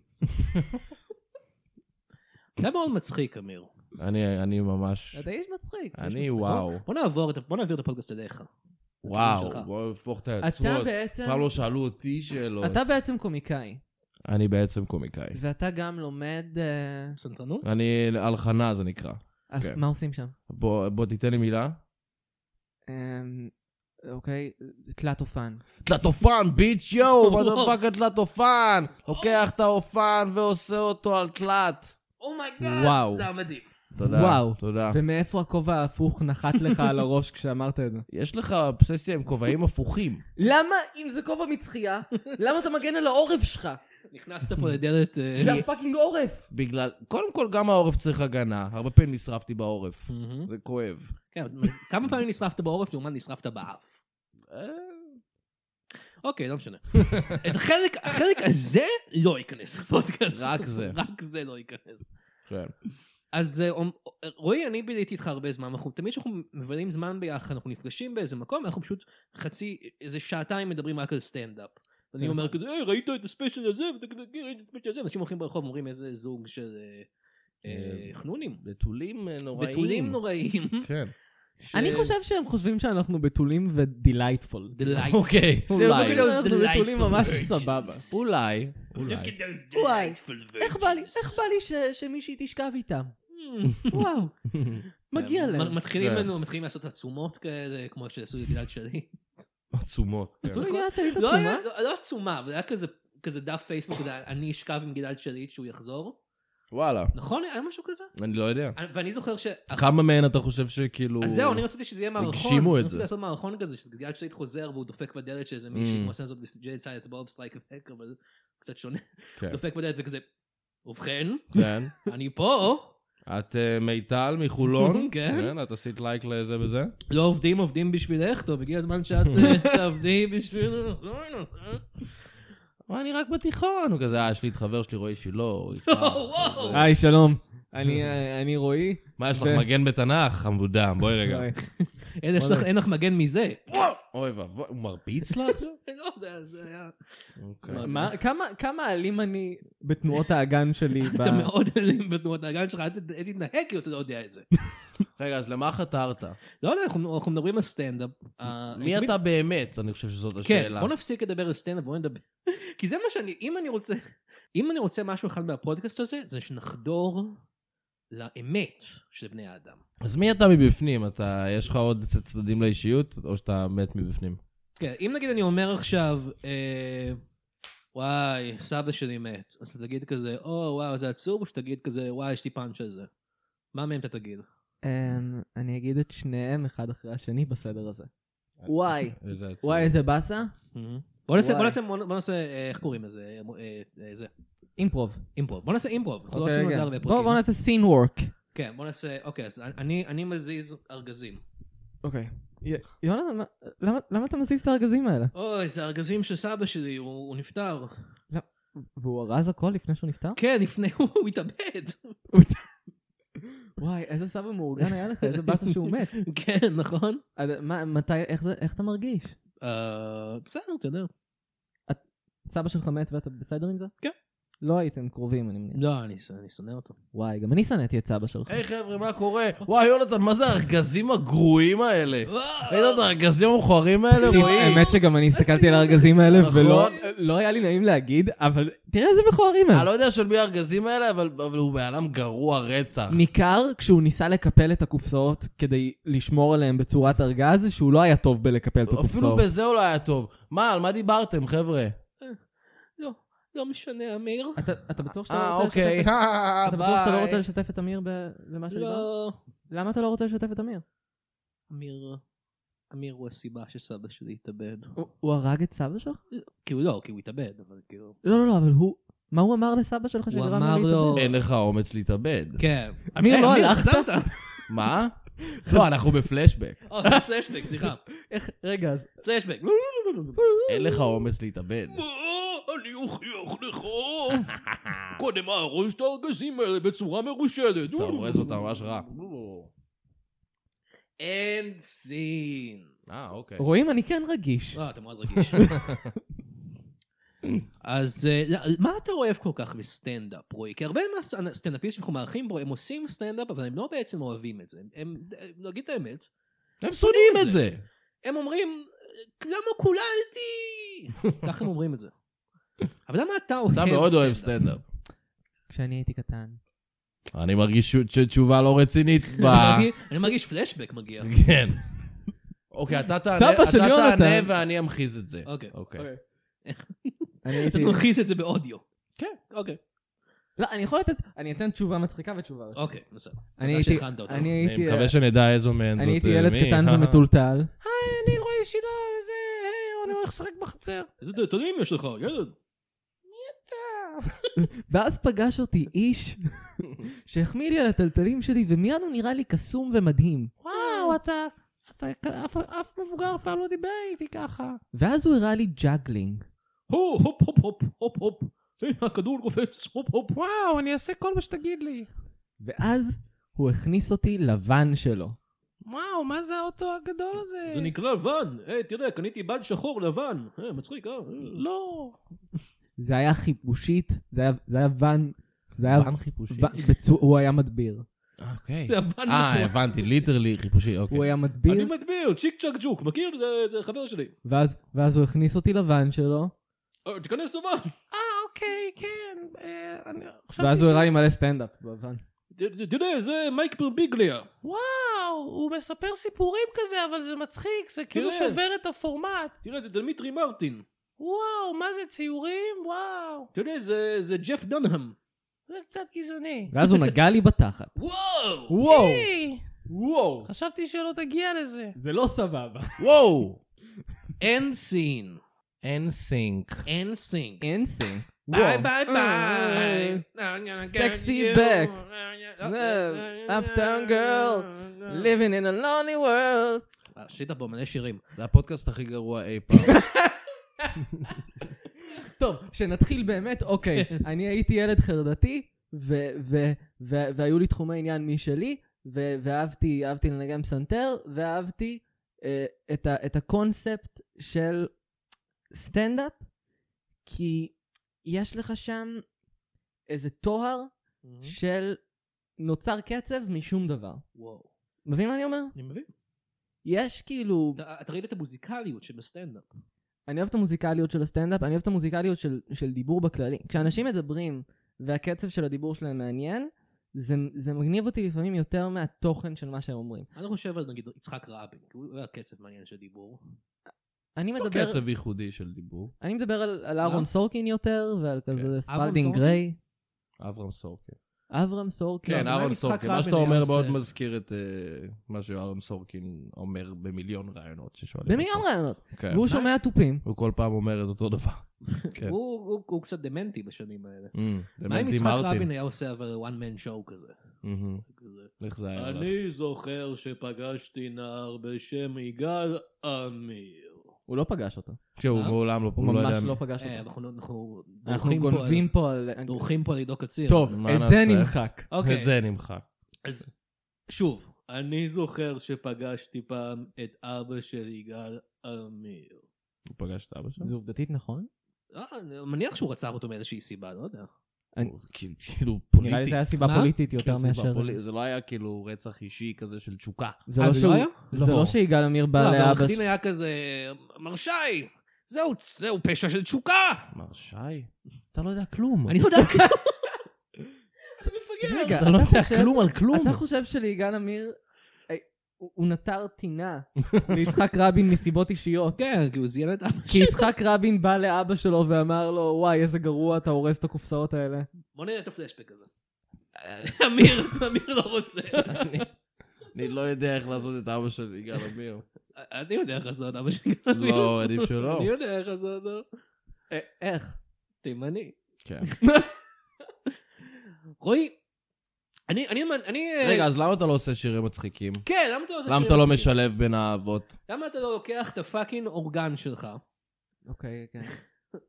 Speaker 3: זה מאוד מצחיק, אמיר.
Speaker 2: אני אני ממש...
Speaker 4: אתה איש מצחיק.
Speaker 2: אני וואו.
Speaker 3: בוא נעבור, את ה- בוא נעביר את הפודקאסט אליך.
Speaker 2: וואו,
Speaker 3: שלך.
Speaker 2: בוא נהפוך את
Speaker 4: אתה
Speaker 2: היוצרות.
Speaker 4: בעצם...
Speaker 2: פעם לא שאלו אותי שאלות.
Speaker 4: אתה בעצם קומיקאי,
Speaker 2: אני בעצם קומיקאי.
Speaker 4: ואתה גם לומד... אה,
Speaker 3: סנטרנות?
Speaker 2: אני הלחנה זה נקרא.
Speaker 4: על-
Speaker 2: כן.
Speaker 4: מה עושים שם?
Speaker 2: בוא בוא, תיתן לי מילה.
Speaker 4: אמ, אוקיי, תלת אופן.
Speaker 2: תלת-אופן, ביץ' יואו, מה
Speaker 3: וואו.
Speaker 2: זה פאק תלת-אופן? לוקח את האופן ועושה אותו על תלת.
Speaker 3: אומייגאד!
Speaker 4: וואו.
Speaker 3: זה היה מדהים.
Speaker 2: תודה.
Speaker 4: וואו.
Speaker 2: תודה.
Speaker 4: ומאיפה הכובע ההפוך נחת לך על הראש כשאמרת את זה?
Speaker 2: יש לך אובססיה עם כובעים הפוכים.
Speaker 4: למה אם זה כובע מצחייה, למה אתה מגן על העורף שלך?
Speaker 3: נכנסת פה לדלת... אה,
Speaker 4: הפאקינג עורף!
Speaker 2: בגלל, קודם כל גם העורף צריך הגנה. הרבה פעמים נשרפתי בעורף.
Speaker 3: מהמם.
Speaker 2: זה כואב.
Speaker 3: כן, כמה פעמים נשרפת בעורף לעומת נשרפת באף?
Speaker 2: אה,
Speaker 3: אוקיי, לא משנה. את החלק, החלק הזה לא ייכנס לפודקאסט.
Speaker 2: רק זה.
Speaker 3: רק זה לא ייכנס.
Speaker 2: כן.
Speaker 3: אז אה, אומ- רועי, אני ביליתי איתך הרבה זמן, אנחנו תמיד כשאנחנו מבלים זמן ביחד, אנחנו נפגשים באיזה מקום, אנחנו פשוט חצי, איזה שעתיים מדברים רק על סטנדאפ. אני אומר כזה, היי, ראית את הספיישל הזה, ותגיד, ראית את הספיישל הזה, אנשים הולכים ברחוב, אומרים איזה זוג של אה, אה,
Speaker 2: אה,
Speaker 3: חנונים.
Speaker 2: בתולים אה, נוראים.
Speaker 3: בתולים נוראים.
Speaker 2: כן.
Speaker 3: ש-
Speaker 4: אני חושב שהם חושבים שאנחנו בתולים ודילייטפול.
Speaker 3: Delightful.
Speaker 2: אוקיי.
Speaker 4: אולי.
Speaker 2: אולי.
Speaker 4: אנחנו בתולים ממש סבבה.
Speaker 2: אולי. אולי.
Speaker 4: וואי, איך בא לי, איך בא לי ש- שמישהי תשכב איתם?
Speaker 3: Hmm.
Speaker 4: וואו, מגיע להם.
Speaker 3: מתחילים
Speaker 2: כן.
Speaker 3: לנו, מתחילים לעשות עצומות כאלה, כמו שעשו לגלעד שלי.
Speaker 2: עצומות. כן.
Speaker 4: עשו לי גלעד שהיית
Speaker 3: לא היה-
Speaker 4: עצומה?
Speaker 3: לא לא עצומה, אבל היה כזה כזה דף פייסבוק, כזה, אני אשכב עם גלעד שליט שהוא יחזור.
Speaker 2: וואלה,
Speaker 3: נכון? היה משהו כזה?
Speaker 2: אני לא יודע.
Speaker 3: אני- ואני זוכר ש...
Speaker 2: כמה מהן אתה חושב שכאילו...
Speaker 3: אז זהו, אני רציתי שזה יהיה מערכון.
Speaker 2: הגשימו את
Speaker 3: אני רציתי
Speaker 2: זה.
Speaker 3: לעשות מערכון כזה, שגלעד שליט חוזר והוא דופק בדלת של איזה מישהי,
Speaker 2: Mm.
Speaker 3: הוא עושה זאת ב-J side above strike a back, אבל זה קצת שונה.
Speaker 2: כן.
Speaker 3: דופק בדלת וכזה, ובכן,
Speaker 2: כן.
Speaker 3: אני פה,
Speaker 2: את אה, מיטל מחולון?
Speaker 3: כן.
Speaker 2: את עשית לייק לזה וזה?
Speaker 3: לא עובדים, עובדים בשבילך, טוב, הגיע הזמן שאת אה, תעבדי בשבילנו. לא, לא, לא.
Speaker 2: אבל אני רק בתיכון. הוא כזה, אה, יש לי את חבר שלי, רועי שילה, הוא ישמח.
Speaker 3: וואו.
Speaker 4: היי, שלום. אני,
Speaker 3: Hmm.
Speaker 4: אה, אני רועי.
Speaker 2: מה, יש לך
Speaker 4: ו-
Speaker 2: מגן בתנ"ך? חמודם, בואי רגע.
Speaker 4: היי.
Speaker 3: אין לך-
Speaker 4: וואלה.
Speaker 3: אין לך מגן מזה.
Speaker 2: אוי ואבוי, הוא מרביץ לה עכשיו?
Speaker 3: לא, זה- זה היה...
Speaker 2: אוקיי.
Speaker 4: מה- כמה- כמה אלים אני בתנועות האגן שלי? ב-
Speaker 3: אתה מאוד אלים בתנועות האגן שלך, אל ת- אל תתנהג כאילו אתה לא יודע את זה.
Speaker 2: רגע, אז למה חתרת?
Speaker 3: לא יודע, אנחנו אנחנו מדברים על סטנדאפ. אה,
Speaker 2: מי
Speaker 3: תמיד-
Speaker 2: אתה באמת? אני חושב שזאת
Speaker 3: כן,
Speaker 2: השאלה.
Speaker 3: בוא נפסיק לדבר על סטנדאפ, בוא נדבר. כי זה מה שאני, אם אני רוצה, אם אני רוצה משהו אחד מהפודקאסט הזה, זה שנחדור לאמת של בני האדם.
Speaker 2: אז מי אתה מבפנים? אתה, יש לך עוד צ- צדדים לאישיות, או שאתה מת מבפנים?
Speaker 3: כן, אם נגיד אני אומר עכשיו, אה, וואי, סבא שלי מת, אז אתה תגיד כזה, או וואו, זה עצוב, או שתגיד כזה, וואי, יש לי פאנץ' על זה. מה מהם אתה תגיד?
Speaker 4: אמ, אני אגיד את שניהם אחד אחרי השני בסדר הזה. וואי.
Speaker 2: איזה עצוב.
Speaker 4: וואי, איזה באסה?
Speaker 3: בוא נעשה, בוא
Speaker 4: וואי.
Speaker 3: נעשה, בוא נעשה, אה, איך קוראים לזה? אה, אה, אה, זה,
Speaker 4: אימפרוב.
Speaker 3: אימפרוב. בוא נעשה אימפרוב, אנחנו לא
Speaker 4: אוקיי,
Speaker 3: עשינו את
Speaker 4: רגע.
Speaker 3: זה הרבה
Speaker 4: בוא
Speaker 3: פרקים.
Speaker 4: בוא נעשה סין וורק.
Speaker 3: כן, בוא נעשה, אוקיי, אז אני אני מזיז ארגזים.
Speaker 4: אוקיי. י- יונתן, מה- למה- למה אתה מזיז את הארגזים האלה?
Speaker 3: אוי, זה ארגזים של סבא שלי, הוא, הוא נפטר.
Speaker 4: והוא ארז הכל לפני שהוא נפטר?
Speaker 3: כן, לפני הוא התאבד.
Speaker 4: וואי, איזה סבא מאורגן היה לך, איזה באסה שהוא מת.
Speaker 3: כן, נכון?
Speaker 4: אז מה, מתי, איך זה- איך אתה מרגיש?
Speaker 3: אה, בסדר, אתה יודע.
Speaker 4: סבא שלך מת ואתה בסדר עם זה?
Speaker 3: כן.
Speaker 4: לא הייתם קרובים, אני מניח.
Speaker 3: לא, אני, ש- אני שונא אותו.
Speaker 4: וואי, גם אני שנאתי את סבא שלך.
Speaker 2: היי חבר'ה, מה קורה? וואי, יונתן, מה זה הארגזים הגרועים האלה? ראית את הארגזים המכוערים האלה,
Speaker 4: תקשיב,
Speaker 2: רועי?
Speaker 4: האמת שגם אני הסתכלתי על הארגזים האלה,
Speaker 2: נכון.
Speaker 4: ולא לא היה לי נעים להגיד, אבל תראה איזה מכוערים
Speaker 2: אני
Speaker 4: הם.
Speaker 2: לא יודע של מי הארגזים האלה, אבל אבל הוא בעלם גרוע רצח.
Speaker 4: ניכר כשהוא ניסה לקפל את הקופסאות כדי לשמור עליהם בצורת ארגז, שהוא לא היה טוב בלקפל את
Speaker 2: אפילו
Speaker 4: הקופסאות.
Speaker 2: בזה הוא לא היה טוב. מה, על מה דיברתם, חבר'ה?
Speaker 3: לא, לא משנה, אמיר.
Speaker 4: אתה- אתה בטוח שאתה
Speaker 2: אה,
Speaker 4: לא רוצה
Speaker 2: אוקיי.
Speaker 4: לשתף את- אתה בטוח שאתה לא
Speaker 2: ביי.
Speaker 4: רוצה לשתף את אמיר ב- במה שדיברנו?
Speaker 3: לא.
Speaker 4: למה אתה לא רוצה לשתף את אמיר?
Speaker 3: אמיר, אמיר הוא הסיבה שסבא שלי התאבד.
Speaker 4: הוא- הוא הרג את סבא שלך?
Speaker 3: כאילו לא, כי הוא התאבד, אבל כאילו...
Speaker 4: לא, לא, לא, אבל הוא... מה הוא אמר לסבא שלך
Speaker 3: הוא
Speaker 4: שגרם לו
Speaker 3: אמר
Speaker 4: להתאבד?
Speaker 3: לו- אה,
Speaker 2: אין לך אומץ להתאבד.
Speaker 3: כן.
Speaker 4: אמיר,
Speaker 2: אה,
Speaker 4: לא הלכת?
Speaker 3: חזרת.
Speaker 2: מה? לא, אנחנו בפלשבק.
Speaker 3: או, אה, זה פלשבק, סליחה.
Speaker 4: איך, רגע, אז...
Speaker 2: אוקיי.
Speaker 3: פלשבק.
Speaker 2: אין לך אומץ להתאבד.
Speaker 3: אני אוכיח לך. קודם ארוש את הארגזים האלה בצורה מרושלת.
Speaker 2: אתה הורס אותה ממש רע.
Speaker 3: אין סין.
Speaker 2: אה, אוקיי.
Speaker 4: רואים? אני כן רגיש.
Speaker 3: אה, אתה מאוד רגיש. אז אה, לא, מה אתה אוהב כל כך בסטנדאפ, רועי? כי הרבה מהסטנדאפיסטים שאנחנו מארחים בו, הם עושים סטנדאפ, אבל הם לא בעצם אוהבים את זה. הם, אה, נגיד את האמת,
Speaker 2: הם שונאים את
Speaker 3: את
Speaker 2: זה.
Speaker 3: הם אומרים, למה קוללתי? ככה הם אומרים את זה. אבל למה אתה אוהב
Speaker 2: אתה מאוד אוהב סטנדאפ.
Speaker 4: כשאני הייתי קטן.
Speaker 2: אני מרגיש ש- שתשובה לא רצינית ב...
Speaker 3: אני מרגיש- אני מרגיש פלשבק מגיע.
Speaker 2: כן. אוקיי, אתה תענה-
Speaker 4: סבא של
Speaker 2: אתה
Speaker 4: יונתן.
Speaker 2: תענה ואני אמחיז את זה.
Speaker 3: אוקיי.
Speaker 2: אוקיי.
Speaker 4: אני
Speaker 3: אתה
Speaker 4: הייתי...
Speaker 3: תלחיס את זה באודיו.
Speaker 2: כן.
Speaker 3: אוקיי.
Speaker 4: לא, אני יכול לתת... אני אתן תשובה מצחיקה ותשובה.
Speaker 3: אוקיי, בסדר.
Speaker 4: אני
Speaker 3: תודה
Speaker 4: הייתי...
Speaker 3: שהכנת אותנו.
Speaker 2: אני
Speaker 4: אני הייתי... אה,
Speaker 2: מקווה שנדע איזו מהן זאת.
Speaker 4: אני הייתי
Speaker 2: אה,
Speaker 4: ילד
Speaker 2: מי.
Speaker 4: קטן
Speaker 2: אה,
Speaker 4: ומטולטל.
Speaker 2: היי, אני רואה שילה וזה, היי, אני הולך לשחק בחצר.
Speaker 3: איזה דתונים יש לך, ילד?
Speaker 4: ואז פגש אותי איש שהחמיא לי על הטלטלים שלי, ומיד הוא נראה לי קסום ומדהים.
Speaker 2: וואו, אתה... אתה- אף- אף מבוגר אף פעם לא דיבר איתי ככה.
Speaker 4: ואז הוא הראה לי ג'אגלינג.
Speaker 3: הו, הופ, הופ, הופ, הופ, הופ. הנה, הכדור קופץ, הופ, הופ.
Speaker 2: וואו, אני אעשה כל מה שתגיד לי.
Speaker 4: ואז הוא הכניס אותי לוואן שלו.
Speaker 2: וואו, מה זה האוטו הגדול הזה?
Speaker 3: זה נקרא ואן, היי תראה קניתי בד שחור לבן, היי מצחיק אה?
Speaker 2: לא.
Speaker 4: זה היה חיפושית, זה היה- זה היה ואן... זה היה...
Speaker 2: פן חיפושי.
Speaker 4: ו- בצו- הוא היה מדביר.
Speaker 2: אוקיי.
Speaker 3: זה הבן
Speaker 2: אה,
Speaker 3: מצחיק.
Speaker 2: הבנתי, ליטרלי חיפושי, אוקיי.
Speaker 4: הוא היה
Speaker 3: אני
Speaker 4: מדביר,
Speaker 3: מדביר, צ'יק צ'אק ג'וק, מכיר? זה- זה חבר שלי.
Speaker 4: ואז- ואז הוא הכניס אותי לוואן שלו,
Speaker 3: אה, תיכנס לבן,
Speaker 2: אה, אוקיי, כן. אה, אני חשבתי
Speaker 4: ואז
Speaker 2: ש-
Speaker 4: הוא הראה לי מלא סטנדאפ בוואן.
Speaker 3: ת- ת- תראה זה מייק פרביגליה.
Speaker 2: וואו, הוא מספר סיפורים כזה, אבל זה מצחיק, זה
Speaker 4: כן.
Speaker 3: תראה.
Speaker 2: את הפורמט.
Speaker 3: תראה זה דמיטרי מרטין.
Speaker 2: וואו, מה זה ציורים? וואו,
Speaker 3: אתה יודע, זה- זה ג'ף דונהם.
Speaker 2: זה קצת גזעני.
Speaker 4: ואז הוא נגע לי בתחת.
Speaker 3: וואו!
Speaker 4: וואו,
Speaker 2: היי,
Speaker 4: וואו,
Speaker 2: חשבתי שלא תגיע לזה.
Speaker 4: זה לא סבבה.
Speaker 3: וואו! אין סין.
Speaker 2: אין סינק.
Speaker 3: אין סין.
Speaker 4: אין סין.
Speaker 3: ביי ביי ביי.
Speaker 4: אה.
Speaker 2: לא,
Speaker 4: Sexy back. Love.
Speaker 2: לא,
Speaker 4: Uptown girl. Living in a lonely world.
Speaker 3: אה, עשית פה מלא שירים.
Speaker 2: זה הפודקאסט הכי גרוע אי פעם.
Speaker 4: טוב, שנתחיל באמת, אוקיי. אני הייתי ילד חרדתי, ו- ו- ו- והיו לי תחומי עניין משלי, ו- ואהבתי אהבתי לנגן פסנתר, ואהבתי אה, את ה- את הקונספט של סטנדאפ, כי יש לך שם איזה טוהר של נוצר קצב משום דבר.
Speaker 3: וואו.
Speaker 4: מבין מה אני אומר?
Speaker 3: אני מבין.
Speaker 4: יש כאילו...
Speaker 3: אתה אתה ראית את המוזיקליות שבסטנדאפ.
Speaker 4: אני אוהב את המוזיקליות של הסטנדאפ, אני אוהב את המוזיקליות של, של דיבור בכללי. כשאנשים מדברים והקצב של הדיבור שלהם מעניין, זה, זה מגניב אותי לפעמים יותר מהתוכן של מה שהם אומרים.
Speaker 3: אני לא חושב על נגיד יצחק רבין, כי הוא היה קצב מעניין של דיבור.
Speaker 4: אני מדבר,
Speaker 2: קצב ייחודי של דיבור.
Speaker 4: אני מדבר על, על אהרון
Speaker 3: מה?
Speaker 4: סורקין יותר, ועל כזה
Speaker 2: אהרון
Speaker 4: ספלדינג
Speaker 3: סורקין?
Speaker 4: גריי,
Speaker 2: אברהם סורקין.
Speaker 4: אברהם סורקין.
Speaker 2: כן,
Speaker 3: לא, מה עם
Speaker 2: אהרון
Speaker 3: יצחק
Speaker 2: סורקין. מה
Speaker 3: רבין
Speaker 2: שאתה
Speaker 3: היה
Speaker 2: אומר
Speaker 3: עושה?
Speaker 2: מאוד מזכיר את אה, מה שאהרון סורקין אומר במיליון רעיונות ששואלים.
Speaker 4: במיליון
Speaker 2: אותו.
Speaker 4: רעיונות.
Speaker 2: כן.
Speaker 4: והוא שומע תופים.
Speaker 2: הוא כל פעם אומר את אותו דבר. כן.
Speaker 3: הוא- הוא הוא קצת דמנטי בשנים האלה.
Speaker 2: אמ,
Speaker 3: מה אם
Speaker 2: דמנטי
Speaker 3: יצחק
Speaker 2: מרטין.
Speaker 3: רבין היה עושה אבל one man show כזה?
Speaker 2: אמ,
Speaker 3: כזה.
Speaker 2: איך זה היה לך?
Speaker 3: אני זוכר שפגשתי נער בשם יגאל עמיר.
Speaker 4: הוא לא פגש אותו.
Speaker 2: שהוא
Speaker 3: אה?
Speaker 2: מעולם לא...
Speaker 4: הוא
Speaker 2: לא
Speaker 4: ממש
Speaker 2: יודע-
Speaker 4: לא פגש
Speaker 3: אה,
Speaker 4: אותו.
Speaker 3: אנחנו אנחנו
Speaker 4: אנחנו
Speaker 3: דורכים פה על-
Speaker 4: גונבים פה על...
Speaker 3: דורכים פה על עידו קציר.
Speaker 4: טוב,
Speaker 2: מה
Speaker 4: את זה
Speaker 2: נעשה?
Speaker 4: נמחק.
Speaker 3: אוקיי.
Speaker 2: את זה נמחק.
Speaker 3: אז שוב, אני זוכר שפגשתי פעם את אבא של יגאל עמיר.
Speaker 2: הוא פגש את אבא שלו?
Speaker 4: זה עובדתית נכון?
Speaker 3: אה, אני מניח שהוא רצח אותו מאיזושהי סיבה, לא יודע.
Speaker 4: אני-
Speaker 2: הוא כאילו- כאילו
Speaker 4: נראה לי
Speaker 2: פוליטי.
Speaker 4: זה היה כן, סיבה
Speaker 3: מה?
Speaker 4: פוליטית יותר
Speaker 2: כאילו, סיבה
Speaker 4: מאשר...
Speaker 2: פולי- זה לא היה כאילו רצח אישי כזה של תשוקה.
Speaker 4: זה
Speaker 3: אה,
Speaker 4: לא
Speaker 3: זה לא
Speaker 4: שהוא...
Speaker 3: היה?
Speaker 4: זה לא שיגאל עמיר בא
Speaker 3: לא, אבל
Speaker 4: לאבא...
Speaker 3: העורך דין היה כזה, מר שי, זהו, זהו פשע של תשוקה.
Speaker 2: מר שי? אתה לא יודע כלום.
Speaker 3: אני יודע כלום. אתה מפגר.
Speaker 4: רגע,
Speaker 2: אתה לא יודע
Speaker 4: חושב-
Speaker 2: כלום על כלום.
Speaker 4: אתה חושב שליגאל עמיר... אה, הוא הוא נטר טינה ליצחק רבין מסיבות אישיות.
Speaker 3: כן, כי הוא זיין את אבא
Speaker 4: כי
Speaker 3: שלו.
Speaker 4: יצחק רבין בא לאבא שלו ואמר לו, וואי, איזה גרוע אתה הורס את הקופסאות האלה.
Speaker 3: בוא נראה את הפלשבק הזה. אמיר, אמיר לא רוצה.
Speaker 2: אני לא יודע איך לעשות את אבא של יגאל עמיר.
Speaker 3: אני יודע איך לעשות אבא שלי.
Speaker 2: לא, עדיף שלא.
Speaker 3: אני יודע איך לעשות אותו.
Speaker 4: אה, איך?
Speaker 3: תימני.
Speaker 2: כן.
Speaker 3: רועי, אני, אני, אני... אה,
Speaker 2: רגע, אז למה אתה לא עושה שירים מצחיקים?
Speaker 3: כן, למה אתה לא עושה
Speaker 2: למה אתה
Speaker 3: שירים
Speaker 2: לא
Speaker 3: מצחיקים?
Speaker 2: משלב בין האהבות?
Speaker 3: למה אתה לא לוקח את הפאקינג אורגן שלך?
Speaker 4: אוקיי, כן.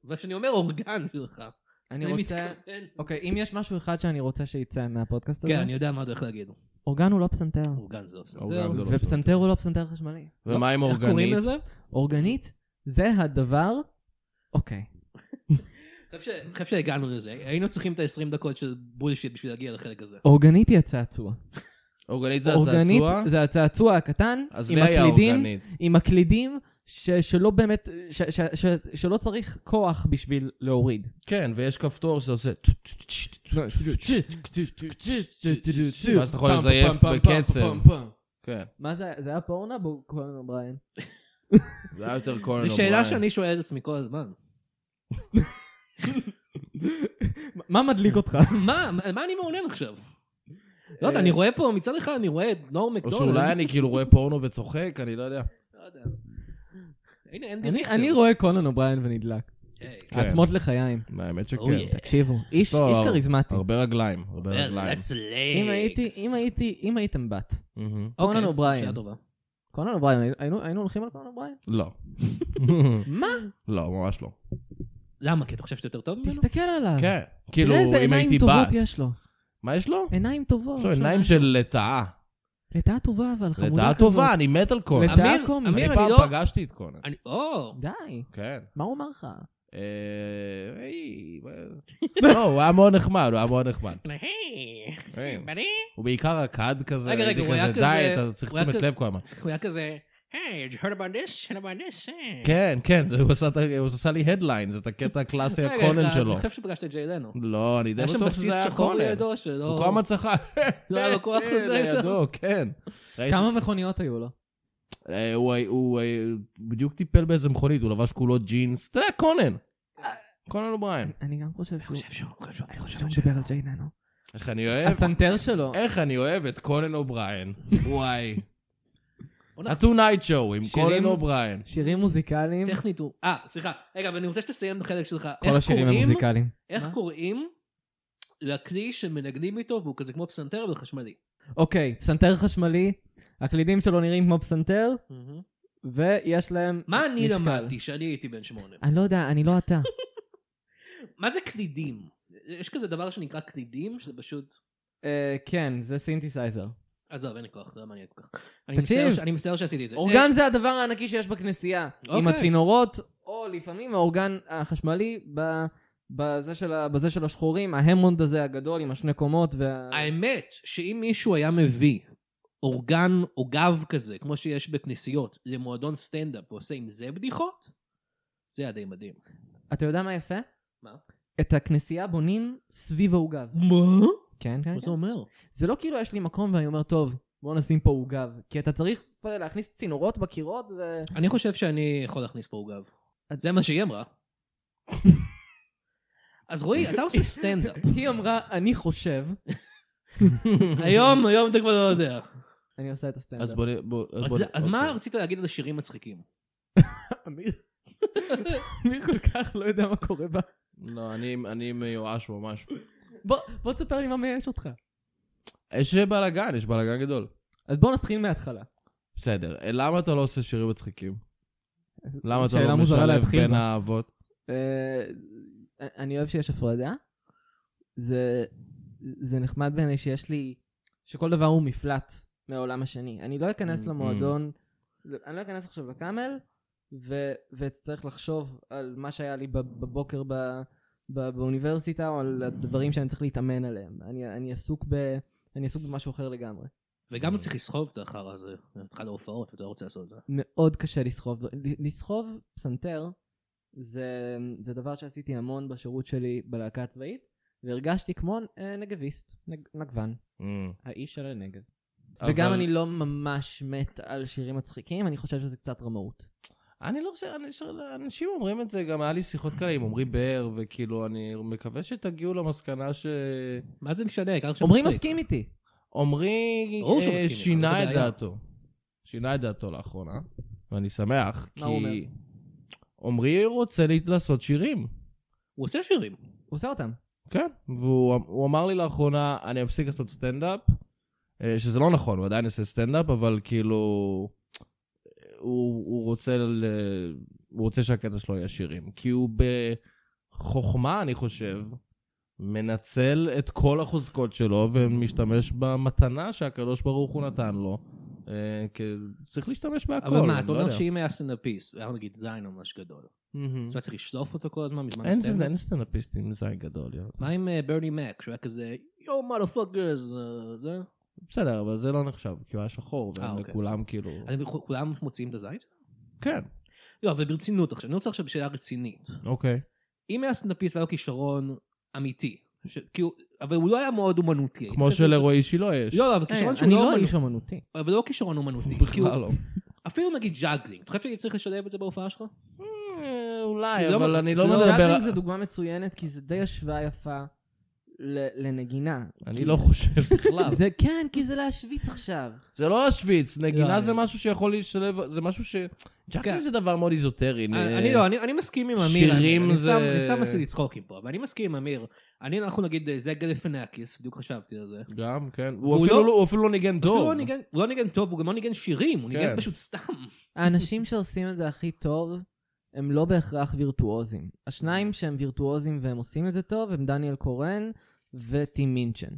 Speaker 3: וכשאני אומר אורגן שלך,
Speaker 4: אני
Speaker 3: אני
Speaker 4: רוצה...
Speaker 3: מתכוון...
Speaker 4: אוקיי, אם יש משהו אחד שאני רוצה שיצא מהפודקאסט הזה,
Speaker 3: כן, אני יודע מה אתה הולך להגיד.
Speaker 4: אורגן הוא לא פסנתר.
Speaker 3: אורגן זה לא בסדר.
Speaker 2: אורגן זה לא
Speaker 4: ופסנתר הוא לא פסנתר חשמלי.
Speaker 2: ומה עם
Speaker 3: איך קוראים
Speaker 2: אורגנית?
Speaker 3: לזה?
Speaker 4: אורגנית זה הדבר... אוקיי.
Speaker 3: אני חושב ש- אני חושב שהגענו לזה. היינו צריכים את ה-20 דקות של בולשיט בשביל להגיע לחלק הזה.
Speaker 2: לא,
Speaker 4: אורגנית היא הצעצוע.
Speaker 2: אורגנית זה
Speaker 4: אורגנית
Speaker 2: הצעצוע?
Speaker 4: זה הצעצוע הקטן,
Speaker 2: אז
Speaker 4: עם
Speaker 2: לי היה
Speaker 4: הקלידים,
Speaker 2: אורגנית.
Speaker 4: עם הקלידים ש, שלא באמת, ש, ש, ש, שלא צריך כוח בשביל להוריד.
Speaker 2: כן, ויש כפתור שעושה... ואז אתה יכול
Speaker 4: פעם,
Speaker 2: לזייף
Speaker 4: פעם, פעם, פעם,
Speaker 2: בקצב.
Speaker 4: פעם, פעם.
Speaker 2: כן,
Speaker 4: מה זה, זה היה פורנב או קולן אובריין?
Speaker 2: זה היה יותר קולן
Speaker 3: זו שאלה שאני שואל את עצמי כל הזמן.
Speaker 4: מה מדליק אותך?
Speaker 3: מה? מה אני מעונן עכשיו? לא יודע, אני רואה פה, מצד אחד אני רואה את נור
Speaker 2: או
Speaker 3: מקדונלד.
Speaker 2: שאולי אני כאילו רואה פורנו וצוחק, אני לא יודע.
Speaker 3: לא יודע. הנה, אין
Speaker 4: אני-
Speaker 3: דירקטור.
Speaker 4: אני רואה קולן אובריין ונדלק.
Speaker 3: היי,
Speaker 2: כן.
Speaker 4: עצמות לחיים.
Speaker 2: האמת
Speaker 3: אוי,
Speaker 2: שכן. אה,
Speaker 4: תקשיבו, איש
Speaker 2: טוב,
Speaker 4: איש
Speaker 2: הר-
Speaker 4: כריזמטי.
Speaker 2: הרבה רגליים, הרבה רגליים.
Speaker 3: That's
Speaker 4: אם הייתי,
Speaker 3: legs.
Speaker 4: אם הייתי, אם הייתם בת,
Speaker 2: מהמם.
Speaker 4: קונן
Speaker 3: אוקיי,
Speaker 4: אובריין.
Speaker 3: שאלה טובה.
Speaker 4: קולן אובריין, היינו היינו הולכים על קולן אובריין?
Speaker 2: לא.
Speaker 4: מה?
Speaker 2: לא, ממש לא.
Speaker 3: אה. למה? כי אתה חושב שאתה יותר טוב ממנו?
Speaker 4: תסתכל עליו.
Speaker 3: אוקיי.
Speaker 2: כן. כאילו,
Speaker 4: תראה איזה
Speaker 2: אם
Speaker 4: עיניים
Speaker 2: הייתי
Speaker 4: טובות
Speaker 2: בת...
Speaker 4: יש לו.
Speaker 2: מה יש
Speaker 3: לא,
Speaker 2: לו?
Speaker 4: עיניים טובות.
Speaker 2: יש לו עיניים של לטאה.
Speaker 4: לטאה טובה, אבל חמודה כזאת.
Speaker 2: לטאה טובה, אני מת על קונן.
Speaker 4: לטאה
Speaker 3: אמיר,
Speaker 4: קומי.
Speaker 2: אני
Speaker 3: אמיר, אני
Speaker 2: פעם
Speaker 3: לא...
Speaker 2: פגשתי את קונן.
Speaker 3: אני- או,
Speaker 4: די,
Speaker 2: כן.
Speaker 4: מה הוא אמר לך?
Speaker 2: אה, היי, מה- לא, הוא היה מאוד נחמד, הוא היה מאוד נחמד.
Speaker 3: היי,
Speaker 2: היי.
Speaker 3: בני?
Speaker 2: הוא בעיקר רקד כזה,
Speaker 3: רגע, רגע,
Speaker 2: הייתי
Speaker 3: הוא היה
Speaker 2: כזה,
Speaker 3: כזה-
Speaker 2: די, אתה צריך
Speaker 3: הוא היה כן.
Speaker 2: תשומת
Speaker 3: כזה-
Speaker 2: לב כל הזמן.
Speaker 3: הוא היה כזה, היי, you heard about this? heard about this? אה."
Speaker 2: כן, כן, זה- הוא עשה את ה- הוא עשה לי הדליין, זה את הקטע הקלאסי
Speaker 3: רגע,
Speaker 2: הקונן
Speaker 3: אחד,
Speaker 2: שלו.
Speaker 3: אני חושב שפגשת את ג'יי לנו.
Speaker 2: לא, אני די
Speaker 3: היה שם
Speaker 2: בטוח שזה
Speaker 3: בסיס
Speaker 2: היה
Speaker 3: שחור
Speaker 2: קונן.
Speaker 3: לידו שלא...
Speaker 2: הוא כל הזמן צחק.
Speaker 3: לא היה לו כוח
Speaker 2: כן,
Speaker 3: לזה יותר.
Speaker 2: לידו, כן. ראיתי-
Speaker 4: כמה מכוניות היו לו?
Speaker 2: אה, הוא, הי- הוא אה, בדיוק טיפל באיזה מכונית, הוא לבש כולו ג'ינס, אתה יודע, קונן. קונן אובריין.
Speaker 4: אני גם חושב שהוא...
Speaker 3: אני
Speaker 4: שהוא מדבר על ג'יי ננו.
Speaker 2: איך אני
Speaker 3: אה,
Speaker 2: אוהב,
Speaker 4: הסנטר שלו.
Speaker 2: איך אני אוהב את קונן אובריין. וואי. ה-2Night Show עם
Speaker 4: שירים-
Speaker 2: קונן אובריין.
Speaker 4: שירים מוזיקליים.
Speaker 3: טכנית הוא... אה, סליחה. רגע, אבל אני רוצה שתסיים את החלק שלך.
Speaker 4: כל
Speaker 3: איך
Speaker 4: השירים הם
Speaker 3: קוראים-
Speaker 4: מוזיקליים.
Speaker 3: איך
Speaker 4: מה?
Speaker 3: קוראים לכלי שמנגנים איתו והוא כזה כמו פסנתר אבל חשמלי?
Speaker 4: אוקיי, פסנתר חשמלי, הקלידים שלו נראים כמו פסנתר, ויש להם
Speaker 3: מה אני
Speaker 4: משקל.
Speaker 3: למדתי שאני הייתי בן שמונה?
Speaker 4: אני לא יודע, אני לא אתה.
Speaker 3: מה זה קלידים? יש כזה דבר שנקרא קלידים, שזה פשוט...
Speaker 4: אה, כן, זה סינתסייזר.
Speaker 3: עזוב, אין לי כוח, זה לא מעניין כל כך. אני
Speaker 4: תקשיב.
Speaker 3: מצטער ש- אני מצטער שעשיתי את זה.
Speaker 4: אורגן זה הדבר הענקי שיש בכנסייה. עם
Speaker 3: אוקיי.
Speaker 4: הצינורות, או לפעמים האורגן החשמלי ב- בזה של ה- בזה של השחורים, ההמונד הזה הגדול עם השני קומות וה...
Speaker 3: האמת, שאם מישהו היה מביא אורגן או גב כזה, כמו שיש בכנסיות, למועדון סטנדאפ, ועושה עם זה בדיחות, זה היה די מדהים.
Speaker 4: אתה יודע מה יפה?
Speaker 3: מה?
Speaker 4: את הכנסייה בונים סביב העוגב.
Speaker 3: מה?
Speaker 4: כן, כן.
Speaker 3: מה זה אומר?
Speaker 4: זה לא כאילו יש לי מקום ואני אומר, טוב, בוא נשים פה עוגב. כי אתה צריך פה להכניס צינורות בקירות ו...
Speaker 3: אני חושב שאני יכול להכניס פה עוגב. זה מה שהיא אמרה. אז רועי, אתה עושה סטנדאפ.
Speaker 4: היא אמרה, אני חושב,
Speaker 3: היום, היום אתה כבר לא יודע.
Speaker 4: אני עושה את הסטנדאפ.
Speaker 2: אז בוא... נ- בוא-
Speaker 3: אז-
Speaker 2: בוא-
Speaker 3: אז
Speaker 2: אוקיי.
Speaker 3: מה רצית להגיד על השירים מצחיקים?
Speaker 4: אמיר אמיר כל כך לא יודע מה קורה בה.
Speaker 2: לא, אני- אני מיואש ממש.
Speaker 4: בוא, בוא תספר לי מה מייאש אותך.
Speaker 2: יש בלאגן, יש בלאגן גדול.
Speaker 4: אז בוא נתחיל מההתחלה.
Speaker 2: בסדר, אה, למה אתה לא עושה שירים מצחיקים? למה אתה
Speaker 4: שאלה
Speaker 2: לא
Speaker 4: מוזרה
Speaker 2: משלב
Speaker 4: להתחיל
Speaker 2: בין
Speaker 4: בה.
Speaker 2: האהבות?
Speaker 4: אה, אני אוהב שיש הפרדה. זה, זה נחמד בעיניי שיש לי, שכל דבר הוא מפלט מהעולם השני. אני לא אכנס
Speaker 2: Mm,
Speaker 4: למועדון, אני לא אכנס עכשיו לקאמל, ו, ואצטרך לחשוב על מה שהיה לי בב- בבוקר ב, ב, באוניברסיטה, או על הדברים שאני צריך להתאמן עליהם. אני, אני עסוק ב... אני עסוק במשהו אחר לגמרי.
Speaker 3: וגם צריך לסחוב את האחר הזה, אחד ההופעות, אתה לא רוצה לעשות את זה.
Speaker 4: מאוד קשה לסחוב. ל- לסחוב פסנתר זה, זה דבר שעשיתי המון בשירות שלי בלהקה הצבאית, והרגשתי כמו אה, נגביסט, נג, נגוון, האיש של הנגב. וגם
Speaker 2: אה, אבל-
Speaker 4: אני לא ממש מת על שירים מצחיקים, אני חושב שזה קצת רמאות.
Speaker 2: אני לא חושב, אני- אנשים אומרים את זה, גם היה לי שיחות כאלה עם עמרי באר, וכאילו, אני מקווה שתגיעו למסקנה ש...
Speaker 3: מה זה משנה, העיקר שמצחיק.
Speaker 4: עמרי מסכים איתי.
Speaker 2: עמרי
Speaker 3: ברור שהוא
Speaker 2: אה,
Speaker 3: מסכים איתך,
Speaker 2: שינה
Speaker 3: אין
Speaker 2: את
Speaker 3: בעיה.
Speaker 2: דעתו. שינה את דעתו לאחרונה, ואני שמח,
Speaker 4: מה הוא
Speaker 2: כי... עמרי רוצה לי- לעשות שירים.
Speaker 3: הוא עושה שירים.
Speaker 4: הוא עושה אותם.
Speaker 2: כן, והוא הוא אמר לי לאחרונה, אני אפסיק לעשות סטנדאפ, אה, שזה לא נכון, הוא עדיין עושה סטנדאפ, אבל כאילו, הוא, הוא, רוצה, ל, הוא רוצה שהקטע שלו יהיה שירים. כי הוא בחוכמה, אני חושב, מנצל את כל החוזקות שלו ומשתמש במתנה שהקדוש ברוך הוא נתן לו. אה, כי צריך להשתמש בהכל,
Speaker 3: אבל מה,
Speaker 2: אני
Speaker 3: אתה
Speaker 2: לא
Speaker 3: אומר
Speaker 2: יודע.
Speaker 3: שאם היה סטנדאפיסט, היה נגיד זין ממש גדול.
Speaker 2: מהמם.
Speaker 3: אז היה צריך לשלוף אותו כל הזמן בזמן
Speaker 2: אין
Speaker 3: הסטנדאפ?
Speaker 2: אין סטנדאפיסטים עם זין גדול. יאללה.
Speaker 3: מה עם אה, ברני מק, שהוא היה כזה, יו מודה פאקרס, זה?
Speaker 2: בסדר, אבל זה לא נחשב, כי הוא היה שחור,
Speaker 3: אה,
Speaker 2: והם
Speaker 3: אוקיי,
Speaker 2: לכולם כאילו...
Speaker 3: אז הם כולם מוציאים את הזין?
Speaker 2: כן.
Speaker 3: לא, אבל ברצינות עכשיו, אני רוצה עכשיו שאלה רצינית.
Speaker 2: אוקיי.
Speaker 3: אם היה סטנדאפיסט והיה לו כישרון אמיתי, ש- כי הוא- אבל הוא לא היה מאוד אומנותי. אני
Speaker 2: כמו
Speaker 3: חושב שהוא-
Speaker 2: שלרועי שילה יש.
Speaker 3: לא, לא, אבל
Speaker 4: אה,
Speaker 3: כישרון שהוא
Speaker 4: אני
Speaker 3: לא
Speaker 4: לא
Speaker 3: אומנותי.
Speaker 4: איש אומנותי.
Speaker 3: אבל לא כישרון אומנותי. כי הוא-
Speaker 2: בכלל לא.
Speaker 3: אפילו נגיד ג'אגלינג, אתה חושב שאני צריך לשלב את זה בהופעה שלך?
Speaker 2: אה, אולי,
Speaker 3: זה
Speaker 2: אבל
Speaker 3: לא-
Speaker 2: אני
Speaker 4: זה
Speaker 2: לא מדבר...
Speaker 4: ג'אגלינג זה דוגמה מצוינת, כי זה די השוואה יפה ל- לנגינה.
Speaker 2: אני
Speaker 4: כי-
Speaker 2: לא חושב בכלל.
Speaker 4: זה כן, כי זה להשוויץ עכשיו.
Speaker 2: זה לא להשוויץ,
Speaker 3: לא,
Speaker 2: נגינה זה
Speaker 3: אני-
Speaker 2: משהו שיכול להשתלב, זה משהו ש...
Speaker 3: כן.
Speaker 2: ג'אקלינג זה דבר מאוד איזוטרי.
Speaker 3: אני אני לא, אני אני מסכים עם אמיר.
Speaker 2: אה, שירים
Speaker 3: אני- אני
Speaker 2: זה-
Speaker 3: סתם- אני סתם עשיתי צחוקים פה, אבל אני מסכים עם אמיר. אני, אנחנו נגיד אה, זאג גליפנקיס, בדיוק חשבתי על זה.
Speaker 2: גם, כן.
Speaker 3: והוא
Speaker 2: הוא אפילו
Speaker 3: לא-
Speaker 2: לא- הוא אפילו לא ניגן
Speaker 3: אפילו
Speaker 2: טוב.
Speaker 3: הוא ניגן- הוא לא ניגן טוב, הוא גם לא ניגן שירים, הוא ניגן
Speaker 2: כן.
Speaker 3: פשוט סתם.
Speaker 4: האנשים שעושים את זה הכי טוב, הם לא בהכרח וירטואוזים. השניים שהם וירטואוזים והם עושים את זה טוב, הם דניאל קורן וטים מינצ'ן.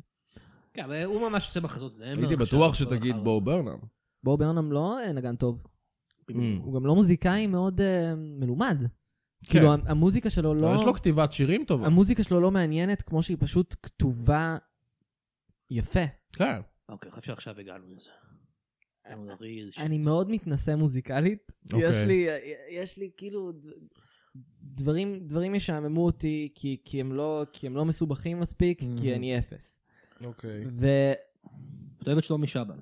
Speaker 3: כן, אבל הוא ממש עושה מחזות זמר.
Speaker 2: הייתי
Speaker 3: עכשיו,
Speaker 2: בטוח
Speaker 3: כל
Speaker 2: שתגיד
Speaker 3: אחד.
Speaker 2: בואו ברנאם.
Speaker 4: בוב ברנם לא אה, נגן טוב.
Speaker 2: Mm.
Speaker 4: הוא גם לא מוזיקאי מאוד אה, מלומד. כאילו, המ- המוזיקה שלו לא...
Speaker 2: כן. אבל יש לו כתיבת שירים טובה.
Speaker 4: המוזיקה שלו לא מעניינת כמו שהיא פשוט כתובה יפה.
Speaker 2: כן.
Speaker 3: אוקיי, אני חושב שעכשיו הגענו לזה. הגענו לריל ש-
Speaker 4: אני מאוד מתנשא מוזיקלית.
Speaker 2: אוקיי.
Speaker 4: יש לי, יש לי כאילו... ד- דברים, דברים ישעממו אותי כי, כי, הם לא, כי הם לא מסובכים מספיק, כי
Speaker 2: Mhm.
Speaker 4: אני אפס.
Speaker 2: אוקיי.
Speaker 4: ו...
Speaker 3: אתה אוהב את שלומי שבן.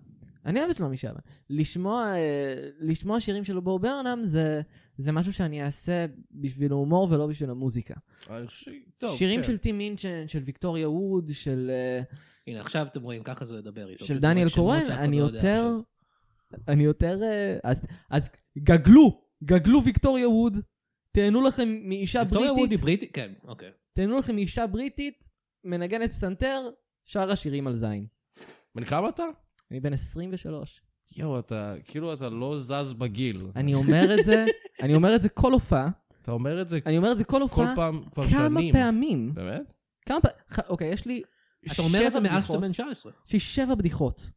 Speaker 4: אני אוהב את שלומי שבן. לשמוע, אה, לשמוע שירים של בור ברנם זה, זה משהו שאני אעשה בשביל ההומור ולא בשביל המוזיקה.
Speaker 2: אני חושב שהיא-
Speaker 4: טוב,
Speaker 2: טוב,
Speaker 4: שירים
Speaker 2: כן.
Speaker 4: של טים אינצ'ן, של ויקטוריה ווד, של, אה,
Speaker 3: הנה, עכשיו אתם רואים, ככה זה לדבר איתו.
Speaker 4: של
Speaker 3: בצורה-
Speaker 4: דניאל
Speaker 3: שמות
Speaker 4: קורן,
Speaker 3: שאף אחד
Speaker 4: אני
Speaker 3: לא יודע
Speaker 4: יותר...
Speaker 3: עכשיו.
Speaker 4: אני יותר... אה, אז, אז גגלו, גגלו ויקטוריה ווד, תהנו לכם מאישה
Speaker 3: ויקטוריה
Speaker 4: בריטית.
Speaker 3: וודי בריטית, כן, אוקיי.
Speaker 4: תהנו לכם מאישה בריטית, מנגנת פסנתר, שרה שירים על זין.
Speaker 2: בן כמה אתה?
Speaker 4: אני בן 23.
Speaker 2: יואו, אתה, כאילו אתה לא זז בגיל.
Speaker 4: אני אומר את זה, אני אומר את זה כל הופעה,
Speaker 2: אתה אומר את זה
Speaker 4: אני אומר את זה כל
Speaker 2: כל
Speaker 4: הופעה,
Speaker 2: פעם, כבר
Speaker 4: כמה
Speaker 2: שנים.
Speaker 4: פעמים,
Speaker 2: באמת?
Speaker 4: כמה פעמים, אוקיי, יש לי
Speaker 3: כן. אתה אומר את זה
Speaker 4: שבע
Speaker 3: מאז שאתה
Speaker 4: בדיחות.
Speaker 3: בן 19.
Speaker 4: יש לי שבע בדיחות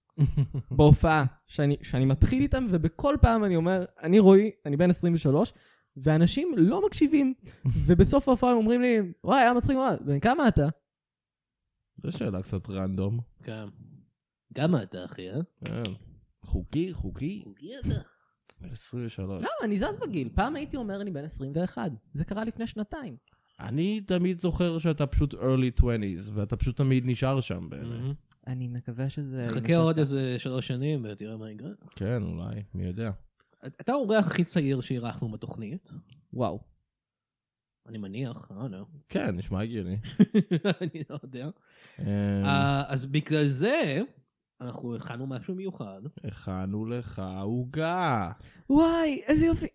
Speaker 4: בהופעה שאני, שאני מתחיל איתן, ובכל פעם אני אומר, אני רועי, אני בן 23, ואנשים לא מקשיבים, ובסוף ההופעה הם אומרים לי, וואי, היה מצחיק מאוד, בן כמה אתה?
Speaker 2: זו שאלה קצת רנדום.
Speaker 3: כן. כמה אתה, אחי, אה?
Speaker 2: כן. חוקי, חוקי.
Speaker 3: מי אתה?
Speaker 2: 23.
Speaker 4: למה, לא, אני זז בגיל, פעם הייתי אומר, אני בן 21, זה קרה לפני שנתיים.
Speaker 2: אני תמיד זוכר שאתה פשוט early 20's, ואתה פשוט תמיד נשאר שם בעיניי.
Speaker 4: אני מקווה שזה...
Speaker 3: חכה
Speaker 4: יימשך
Speaker 3: עוד
Speaker 4: ככה.
Speaker 3: איזה שלוש שנים ותראה מה יקרה.
Speaker 2: כן, אולי, מי יודע.
Speaker 3: אתה האורח הכי צעיר שאירחנו בתוכנית,
Speaker 4: וואו.
Speaker 3: אני מניח, אה, לא.
Speaker 2: כן, נשמע הגיוני.
Speaker 3: אני לא יודע.
Speaker 2: אה,
Speaker 3: אה, אז בגלל זה, אנחנו הכנו משהו מיוחד.
Speaker 2: הכנו לך עוגה.
Speaker 4: וואי, איזה יופי.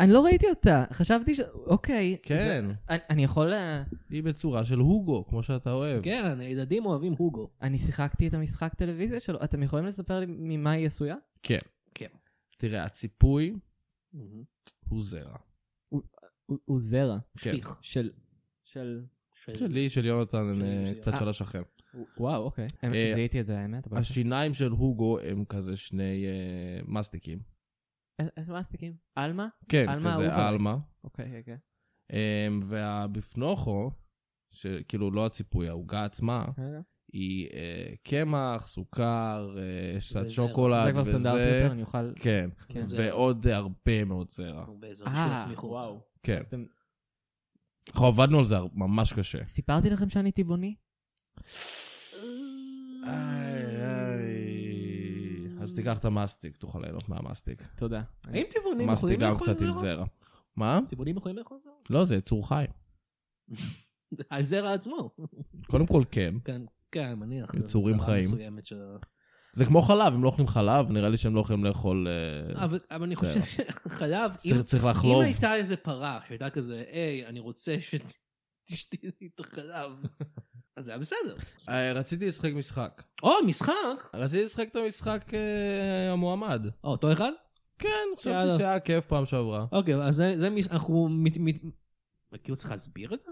Speaker 4: אני לא ראיתי אותה, חשבתי ש... אוקיי.
Speaker 2: כן,
Speaker 4: זה- אני- אני יכול... אה,
Speaker 2: היא בצורה של הוגו, כמו שאתה אוהב.
Speaker 3: כן, הילדים אוהבים הוגו.
Speaker 4: אני שיחקתי את המשחק טלוויזיה שלו, אתם יכולים לספר לי ממה היא עשויה?
Speaker 2: כן.
Speaker 3: כן.
Speaker 2: תראה, הציפוי כן. הוא זרע.
Speaker 4: הוא- הוא זרע.
Speaker 3: שטיח.
Speaker 4: של... של...
Speaker 2: שלי, של יונתן, הם, אה,
Speaker 3: שלי.
Speaker 2: קצת
Speaker 4: אה.
Speaker 2: של השכן.
Speaker 4: וואו, אוקיי.
Speaker 2: אה,
Speaker 4: זיהיתי את זה, האמת. אבל-
Speaker 2: השיניים של הוגו הם כזה שני אה, מסטיקים.
Speaker 4: א- איזה מסטיקים? עלמה?
Speaker 2: כן,
Speaker 4: עלמה
Speaker 2: כזה
Speaker 4: אהוב עליי.
Speaker 2: עלמה.
Speaker 4: אוקיי, אוקיי.
Speaker 2: אמ, והבפנוכו, שכאילו לא הציפוי, העוגה עצמה, היא אה, קמח, סוכר, אה, יש קצת
Speaker 3: וזרע.
Speaker 2: שוקולד
Speaker 4: זה כבר סטנדרטי
Speaker 2: וזה.
Speaker 4: יותר, אני אוכל...
Speaker 2: כן,
Speaker 4: כן.
Speaker 3: וזרע.
Speaker 2: ועוד אה, הרבה מאוד זרע.
Speaker 4: אה,
Speaker 3: וואו.
Speaker 4: וואו.
Speaker 2: כן.
Speaker 4: אתם-
Speaker 2: אנחנו עבדנו על זה הר- ממש קשה.
Speaker 4: סיפרתי לכם שאני טבעוני?
Speaker 3: אה.
Speaker 2: אז תיקח את המסטיק, תוכל ליהנות מהמסטיק.
Speaker 4: תודה.
Speaker 3: האם טבעונים
Speaker 2: מסטיק
Speaker 3: יכולים
Speaker 2: גם
Speaker 3: לאכול
Speaker 2: קצת עם
Speaker 3: זרע?
Speaker 2: זרע. מה?
Speaker 3: טבעונים יכולים לאכול זרע?
Speaker 2: לא, זה יצור חי.
Speaker 3: הזרע עצמו.
Speaker 2: קודם כל כן.
Speaker 3: כן, כן, מניח.
Speaker 2: יצורים
Speaker 3: ברמה
Speaker 2: חיים.
Speaker 3: מסוימת של-
Speaker 2: זה כמו חלב, הם לא אוכלים חלב, נראה לי שהם לא יכולים לאכול... אה,
Speaker 3: אבל אבל אני
Speaker 2: זרע.
Speaker 3: חושב שחלב, אם-
Speaker 2: צריך- צריך לחלוב.
Speaker 3: אם הייתה איזה פרה שהייתה כזה, היי, אני רוצה שתשתי לי את החלב, אז זה היה בסדר.
Speaker 2: אה, רציתי לשחק משחק.
Speaker 3: או, משחק!
Speaker 2: רציתי לשחק את המשחק אה, המועמד.
Speaker 3: או, אותו אחד?
Speaker 2: כן,
Speaker 3: יאללה.
Speaker 2: חשבתי שהיה כיף פעם שעברה.
Speaker 3: אוקיי, אז זה- זה מש... אנחנו... מת- מת- כאילו צריך להסביר את זה?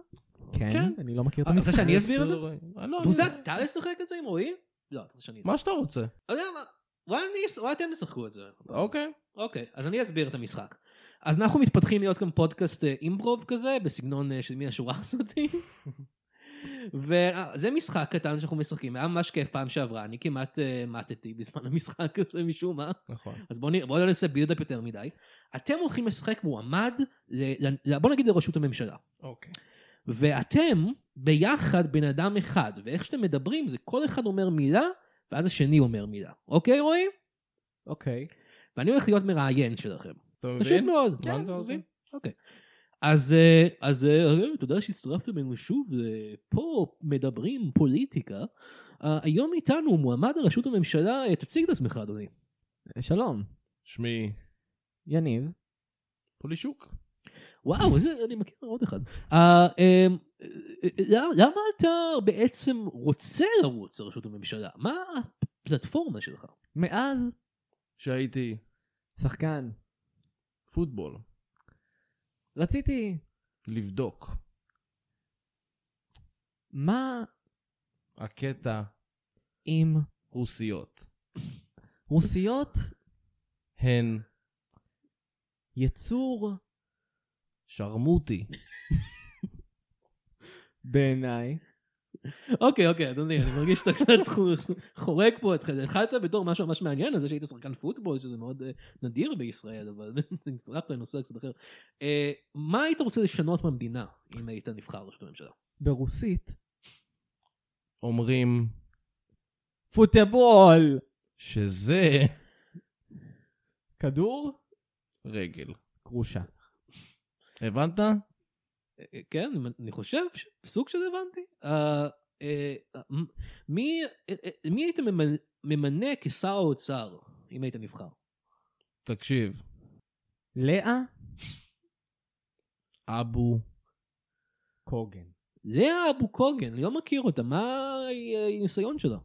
Speaker 4: כן?
Speaker 2: כן.
Speaker 4: אני לא מכיר את
Speaker 3: אה, רוצה
Speaker 4: המשחק.
Speaker 3: שאני אסביר את זה?
Speaker 2: אה, לא,
Speaker 3: אתה רוצה
Speaker 2: אני-
Speaker 3: אתה לשחק את זה עם רועי? לא, אתה רוצה שאני אסביר.
Speaker 2: מה שאתה רוצה.
Speaker 3: אתה יודע מה? אולי אני- אולי אתם תשחקו את זה.
Speaker 2: אוקיי.
Speaker 3: אוקיי, אז אני אסביר את המשחק. אז אנחנו מתפתחים להיות כאן פודקאסט אה, אימברוב כזה, בסגנון אה, של מי השורה הזאתי. וזה משחק קטן שאנחנו משחקים, היה ממש כיף פעם שעברה, אני כמעט אה, מתתי בזמן המשחק הזה משום מה.
Speaker 2: נכון.
Speaker 3: אז בואו נ... בוא לא נעשה בילדאפ יותר מדי. אתם הולכים לשחק מועמד, ל... ל... בוא נגיד לראשות הממשלה.
Speaker 2: אוקיי.
Speaker 3: ואתם ביחד בן אדם אחד, ואיך שאתם מדברים זה כל אחד אומר מילה, ואז השני אומר מילה. אוקיי רועי?
Speaker 4: אוקיי.
Speaker 3: ואני הולך להיות מראיין שלכם.
Speaker 2: אתה
Speaker 3: פשוט
Speaker 2: מבין?
Speaker 3: מאוד.
Speaker 2: כן,
Speaker 3: מה?
Speaker 2: עושים.
Speaker 3: אוקיי. אז, אה, אז אה, אה, תודה שהצטרפתם אלינו שוב, אה, פה מדברים פוליטיקה. אה, היום איתנו מועמד לראשות הממשלה, אה, תציג את עצמך אדוני.
Speaker 4: שלום,
Speaker 2: שמי
Speaker 4: יניב.
Speaker 2: פולישוק.
Speaker 3: וואו, זה, אני מכיר עוד אחד. אה, אה, אה, אה, למה אתה בעצם רוצה לרוץ לראשות הממשלה? מה הפלטפורמה שלך?
Speaker 4: מאז,
Speaker 2: שהייתי
Speaker 4: שחקן,
Speaker 2: פוטבול.
Speaker 4: רציתי,
Speaker 2: לבדוק.
Speaker 4: מה
Speaker 2: הקטע
Speaker 4: אם
Speaker 2: רוסיות.
Speaker 4: רוסיות
Speaker 2: הן
Speaker 4: יצור
Speaker 2: שרמוטי.
Speaker 4: בעיניי.
Speaker 3: אוקיי, אוקיי, אדוני, אני מרגיש שאתה קצת חו- חורג פה אתכם. התחלת בתור משהו ממש מעניין, על זה שהיית שחקן פוטבול, שזה מאוד אה, נדיר בישראל, אבל נצטרפת לנושא קצת אחר. אה, מה היית רוצה לשנות במדינה, אם היית נבחר לראשות הממשלה?
Speaker 4: ברוסית.
Speaker 2: אומרים
Speaker 4: פוטבול!
Speaker 2: שזה
Speaker 4: כדור,
Speaker 2: רגל.
Speaker 4: קרושה.
Speaker 2: הבנת?
Speaker 3: אה, כן, אני חושב, ש- סוג של הבנתי. אה, אה, אה, מ- מי אה, אה, מי היית ממנ- ממנה כשר האוצר, אם היית נבחר?
Speaker 2: תקשיב,
Speaker 4: לאה
Speaker 2: אבו
Speaker 4: קוגן.
Speaker 3: לאה אבו קוגן, אני לא מכיר אותה, מה אה, הניסיון שלה?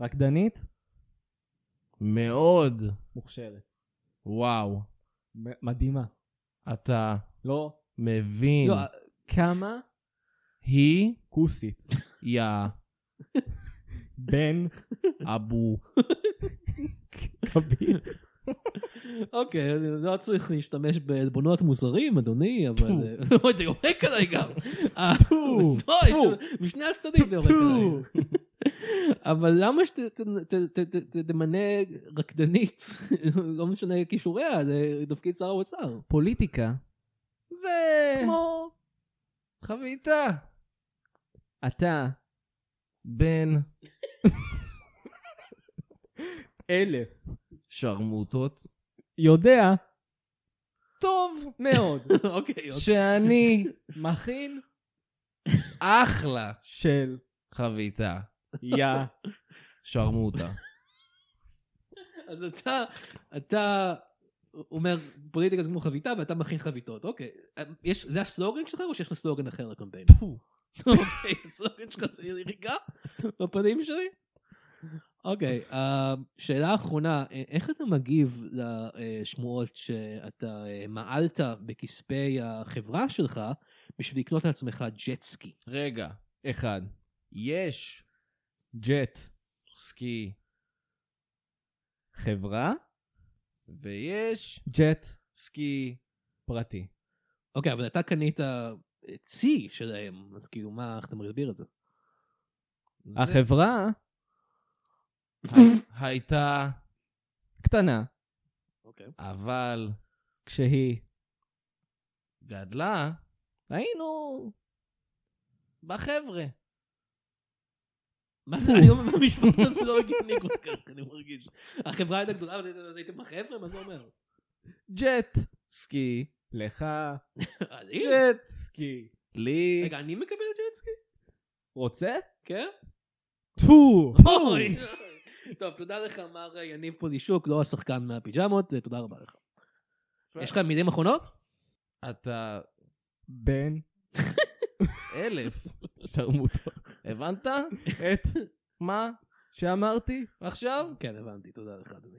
Speaker 4: רקדנית,
Speaker 2: מאוד,
Speaker 4: מוכשרת.
Speaker 2: וואו,
Speaker 4: מ- מדהימה.
Speaker 2: אתה
Speaker 4: לא,
Speaker 2: מבין,
Speaker 3: לא, אה,
Speaker 4: כמה
Speaker 2: היא
Speaker 4: כוסית.
Speaker 2: יא
Speaker 4: בן
Speaker 2: אבו.
Speaker 4: קביל.
Speaker 3: אוקיי, אני לא צריך להשתמש בעלבונות מוזרים, אדוני, אבל... אה, אוי, זה יורק עליי גם. אה,
Speaker 4: טו,
Speaker 3: אוי,
Speaker 4: טו.
Speaker 3: זה- משני הצדדים זה יורק עליי. אבל למה שתמנה רקדנית, לא משנה כישוריה, זה תפקיד שר האוצר.
Speaker 5: פוליטיקה,
Speaker 3: כן.
Speaker 2: זה
Speaker 5: כמו
Speaker 2: חביתה.
Speaker 5: אתה,
Speaker 2: בין
Speaker 4: אלף.
Speaker 2: שרמוטות
Speaker 4: יודע
Speaker 2: טוב
Speaker 4: מאוד.
Speaker 3: אוקיי,
Speaker 2: שאני
Speaker 4: מכין
Speaker 2: אחלה
Speaker 4: של
Speaker 2: חביתה
Speaker 4: יא.
Speaker 2: שרמוטה.
Speaker 3: אז אתה, אתה אומר פוליטיקה זה כמו חביתה ואתה מכין חביתות, אוקיי. יש, זה הסלוגן שלך או שיש לך סלוגן אחר לקמפיין? אוקיי, הסלוגן שלך זה יריקה בפנים שלי? אוקיי, השאלה האחרונה, אה, איך אתה מגיב לשמועות שאתה אה, מעלת בכספי החברה שלך בשביל לקנות לעצמך ג'טסקי?
Speaker 2: רגע,
Speaker 4: אחד.
Speaker 2: יש
Speaker 4: ג'ט.
Speaker 2: סקי
Speaker 4: חברה.
Speaker 2: ויש
Speaker 4: ג'ט.
Speaker 2: סקי.
Speaker 4: פרטי.
Speaker 3: אוקיי, אבל אתה קנית אה, צי שלהם, אז כאילו מה, איך אתה מסביר את זה?
Speaker 2: זה
Speaker 4: החברה
Speaker 2: הייתה,
Speaker 4: קטנה
Speaker 3: אוקיי.
Speaker 2: אבל
Speaker 4: כשהיא
Speaker 2: גדלה
Speaker 4: היינו
Speaker 2: בחבר'ה.
Speaker 3: מה זה, אני לא מבין, המשפט הזה לא הגיוני כל כך, אני מרגיש. החברה הייתה גדולה, אז הייתם- אז הייתם בחבר'ה? מה זה אומר?
Speaker 4: ג'ט.
Speaker 2: סקי,
Speaker 4: לך
Speaker 3: אני?
Speaker 2: ג'ט,
Speaker 4: סקי.
Speaker 2: לי,
Speaker 3: רגע, אני מקבל את ג'טסקי?
Speaker 4: רוצה?
Speaker 3: כן?
Speaker 4: טו.
Speaker 3: אוי. טוב, תודה לך, מר יניב פולישוק, לא השחקן מהפיג'מות, אה, תודה רבה לך. יש לך מילים אחרונות?
Speaker 2: אתה
Speaker 4: בן
Speaker 2: אלף.
Speaker 4: שרמוטו.
Speaker 2: הבנת?
Speaker 4: את
Speaker 2: מה?
Speaker 4: שאמרתי?
Speaker 2: עכשיו?
Speaker 3: כן, הבנתי, תודה לך, אדוני.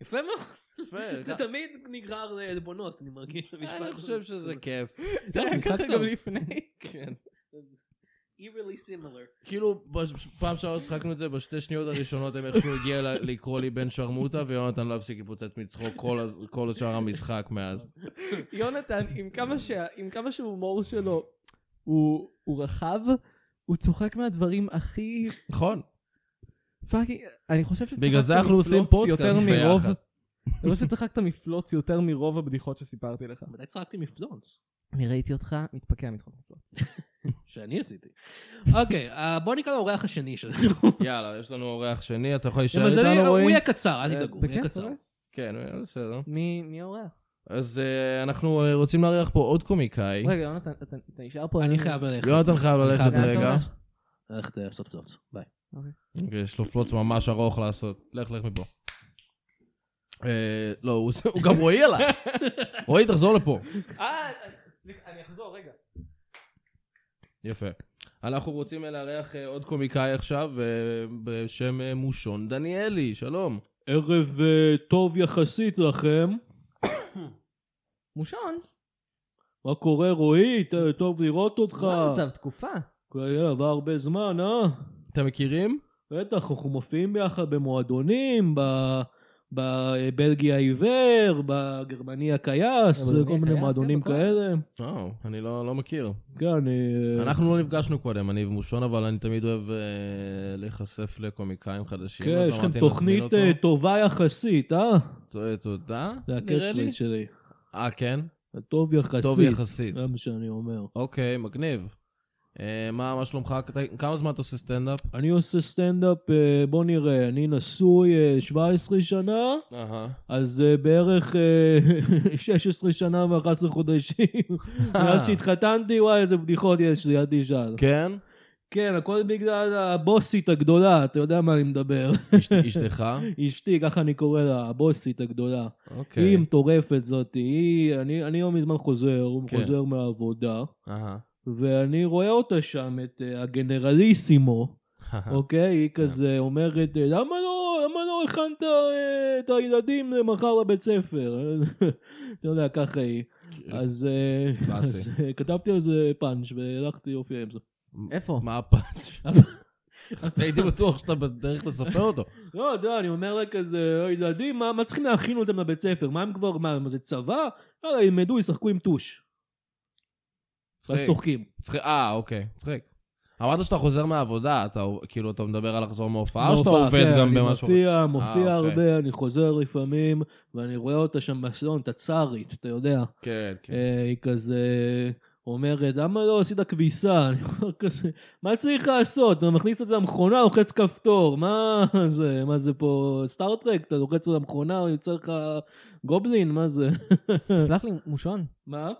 Speaker 3: יפה מאוד.
Speaker 2: יפה.
Speaker 3: זה תמיד נגרר לעלבונות, אני מרגיש.
Speaker 2: אני חושב שזה כיף.
Speaker 4: זה היה
Speaker 3: משחק
Speaker 4: ככה
Speaker 3: טוב.
Speaker 4: גם לפני.
Speaker 2: כן.
Speaker 3: Eerily similar.
Speaker 2: כאילו, בש- פעם שעבר שחקנו את זה, בשתי שניות הראשונות הם איכשהו הגיע ל- לקרוא לי בן שרמוטה, ויונתן לא הפסיק להתפוצץ מצחוק כל הז- כל שאר המשחק מאז.
Speaker 5: יונתן, עם כמה, שה, עם כמה שההומור שלו הוא, הוא רחב, הוא צוחק מהדברים הכי
Speaker 2: נכון,
Speaker 5: פאקינג, אני חושב שצחקת
Speaker 2: בגלל זה אנחנו עושים
Speaker 5: מפלוץ
Speaker 2: פודקאסט
Speaker 5: יותר מרוב,
Speaker 2: ביחד.
Speaker 5: אני חושב שצחקת מפלוץ יותר מרוב הבדיחות שסיפרתי לך.
Speaker 3: מתי צחקתי מפלונס?
Speaker 5: אני ראיתי אותך מתפקע מצחוק מפלוץ.
Speaker 3: שאני עשיתי. אוקיי, אה, בוא נקרא לאורח השני שלנו.
Speaker 2: יאללה, יש לנו אורח שני, אתה יכול להישאר
Speaker 3: למזלי,
Speaker 2: איתנו,
Speaker 3: הוא
Speaker 2: רועי?
Speaker 3: יהיה קצר,
Speaker 4: אה,
Speaker 3: אל תדאגו, הוא יהיה
Speaker 5: בכיף,
Speaker 3: קצר.
Speaker 5: אוקיי.
Speaker 2: כן, הוא יהיה בסדר.
Speaker 5: מי מי האורח?
Speaker 2: אז אה, אנחנו אה, רוצים לארח פה עוד קומיקאי.
Speaker 5: רגע, יונתן, אתה- אתה נשאר פה?
Speaker 3: אני חייב ללכת.
Speaker 2: יונתן אוקיי. חייב ללכת
Speaker 3: אני חייב
Speaker 2: רגע.
Speaker 3: לעשות- ללכת אה, סוף סוף, ביי.
Speaker 2: אוקיי, יש לו פלוץ ממש ארוך לעשות. לך, לך מפה. אה, לא, הוא הוא גם רועי עליי. רועי, תחזור לפה.
Speaker 5: אה, סליחה, אני אחזור, רגע.
Speaker 2: יפה. אנחנו רוצים לארח אה, עוד קומיקאי עכשיו אה, בשם אה, מושון דניאלי, שלום.
Speaker 3: ערב אה, טוב יחסית לכם.
Speaker 5: מושון,
Speaker 3: מה קורה, רועי? טוב לראות אותך.
Speaker 2: לא.
Speaker 5: מה המצב? תקופה.
Speaker 3: עבר הרבה זמן, אה?
Speaker 2: אתם מכירים?
Speaker 3: בטח, אנחנו מופיעים ביחד במועדונים, ב- בבלגי העיוור, בגרמני הכייס,
Speaker 5: בגרמני
Speaker 3: כל מיני
Speaker 5: הכייס,
Speaker 3: מועדונים
Speaker 5: כן, בכל-
Speaker 3: כאלה.
Speaker 2: או, אני לא לא מכיר.
Speaker 3: כן, אני... אה,
Speaker 2: אנחנו לא נפגשנו קודם, אני ומושון, אבל אני תמיד אוהב אה, להיחשף לקומיקאים חדשים.
Speaker 3: כן,
Speaker 2: אז
Speaker 3: יש לכם
Speaker 2: אמרתי, לא נזמין
Speaker 3: תוכנית
Speaker 2: אותו.
Speaker 3: אה, טובה יחסית, אה?
Speaker 2: ת- תודה,
Speaker 3: זה
Speaker 2: נראה לי.
Speaker 3: הקרצ'ווייז שלי.
Speaker 2: אה, כן?
Speaker 3: טוב יחסית.
Speaker 2: טוב יחסית.
Speaker 3: זה מה שאני אומר.
Speaker 2: אוקיי, מגניב. אה, מה, מה שלומך? אתה- כמה זמן אתה עושה סטנדאפ?
Speaker 3: אני עושה סטנדאפ, אה, בוא נראה, אני נשוי אה, 17 שנה,
Speaker 2: אהה.
Speaker 3: אז אה, בערך אה, 16 שנה ו-11 חודשים. מאז שהתחתנתי, וואי, איזה בדיחות יש לי, אל תשאל.
Speaker 2: כן?
Speaker 3: כן, הכל בגלל הבוסית הגדולה, אתה יודע מה אני מדבר.
Speaker 2: אשת- אשתך?
Speaker 3: אשתי, ככה אני קורא לה, הבוסית הגדולה.
Speaker 2: אוקיי.
Speaker 3: היא מטורפת זאתי, היא, אני, אני לא מזמן חוזר, הוא
Speaker 2: כן.
Speaker 3: חוזר מהעבודה,
Speaker 2: אהה.
Speaker 3: ואני רואה אותה שם, את אה, הגנרליסימו,
Speaker 2: אה.
Speaker 3: אוקיי? היא כזה אומרת, אה, למה לא, למה לא הכנת אה, את הילדים למחר לבית ספר? אתה יודע, ככה היא.
Speaker 2: כן.
Speaker 3: אז אה,
Speaker 2: באסה.
Speaker 3: אז, אה, כתבתי על זה פאנץ' והלכתי יופי עם זה.
Speaker 5: איפה?
Speaker 2: מה הפאנץ'? הייתי בטוח שאתה בדרך לספר אותו.
Speaker 3: לא, אתה יודע, אני אומר לה כזה, הילדים, מה, מה צריכים להכין אותם לבית ספר? מה הם כבר, מה, מה זה צבא? יאללה, ילמדו, ישחקו עם טוש. אז
Speaker 2: צחיק.
Speaker 3: צוחקים.
Speaker 2: צחיק. אה, אוקיי, צחיק. אמרת שאתה חוזר מהעבודה, אתה כאילו, אתה מדבר על לחזור מההופעה, או שאתה
Speaker 3: בהופעה,
Speaker 2: עובד
Speaker 3: כן,
Speaker 2: גם במשהו?
Speaker 3: אני מופיע,
Speaker 2: אה,
Speaker 3: מופיע
Speaker 2: אוקיי.
Speaker 3: הרבה, אני חוזר לפעמים, ואני רואה אותה שם בסלון, את הצארית, אתה יודע.
Speaker 2: כן, כן.
Speaker 3: אה, היא כזה אומרת, למה לא עשית כביסה? אני אומר כזה, מה צריך לעשות? אתה מכניס את זה למכונה, לוחץ כפתור, מה זה? מה זה פה סטארטרק? אתה לוחץ על המכונה, יוצא לך גובלין, מה זה?
Speaker 5: סלח לי, מושון.
Speaker 3: מה?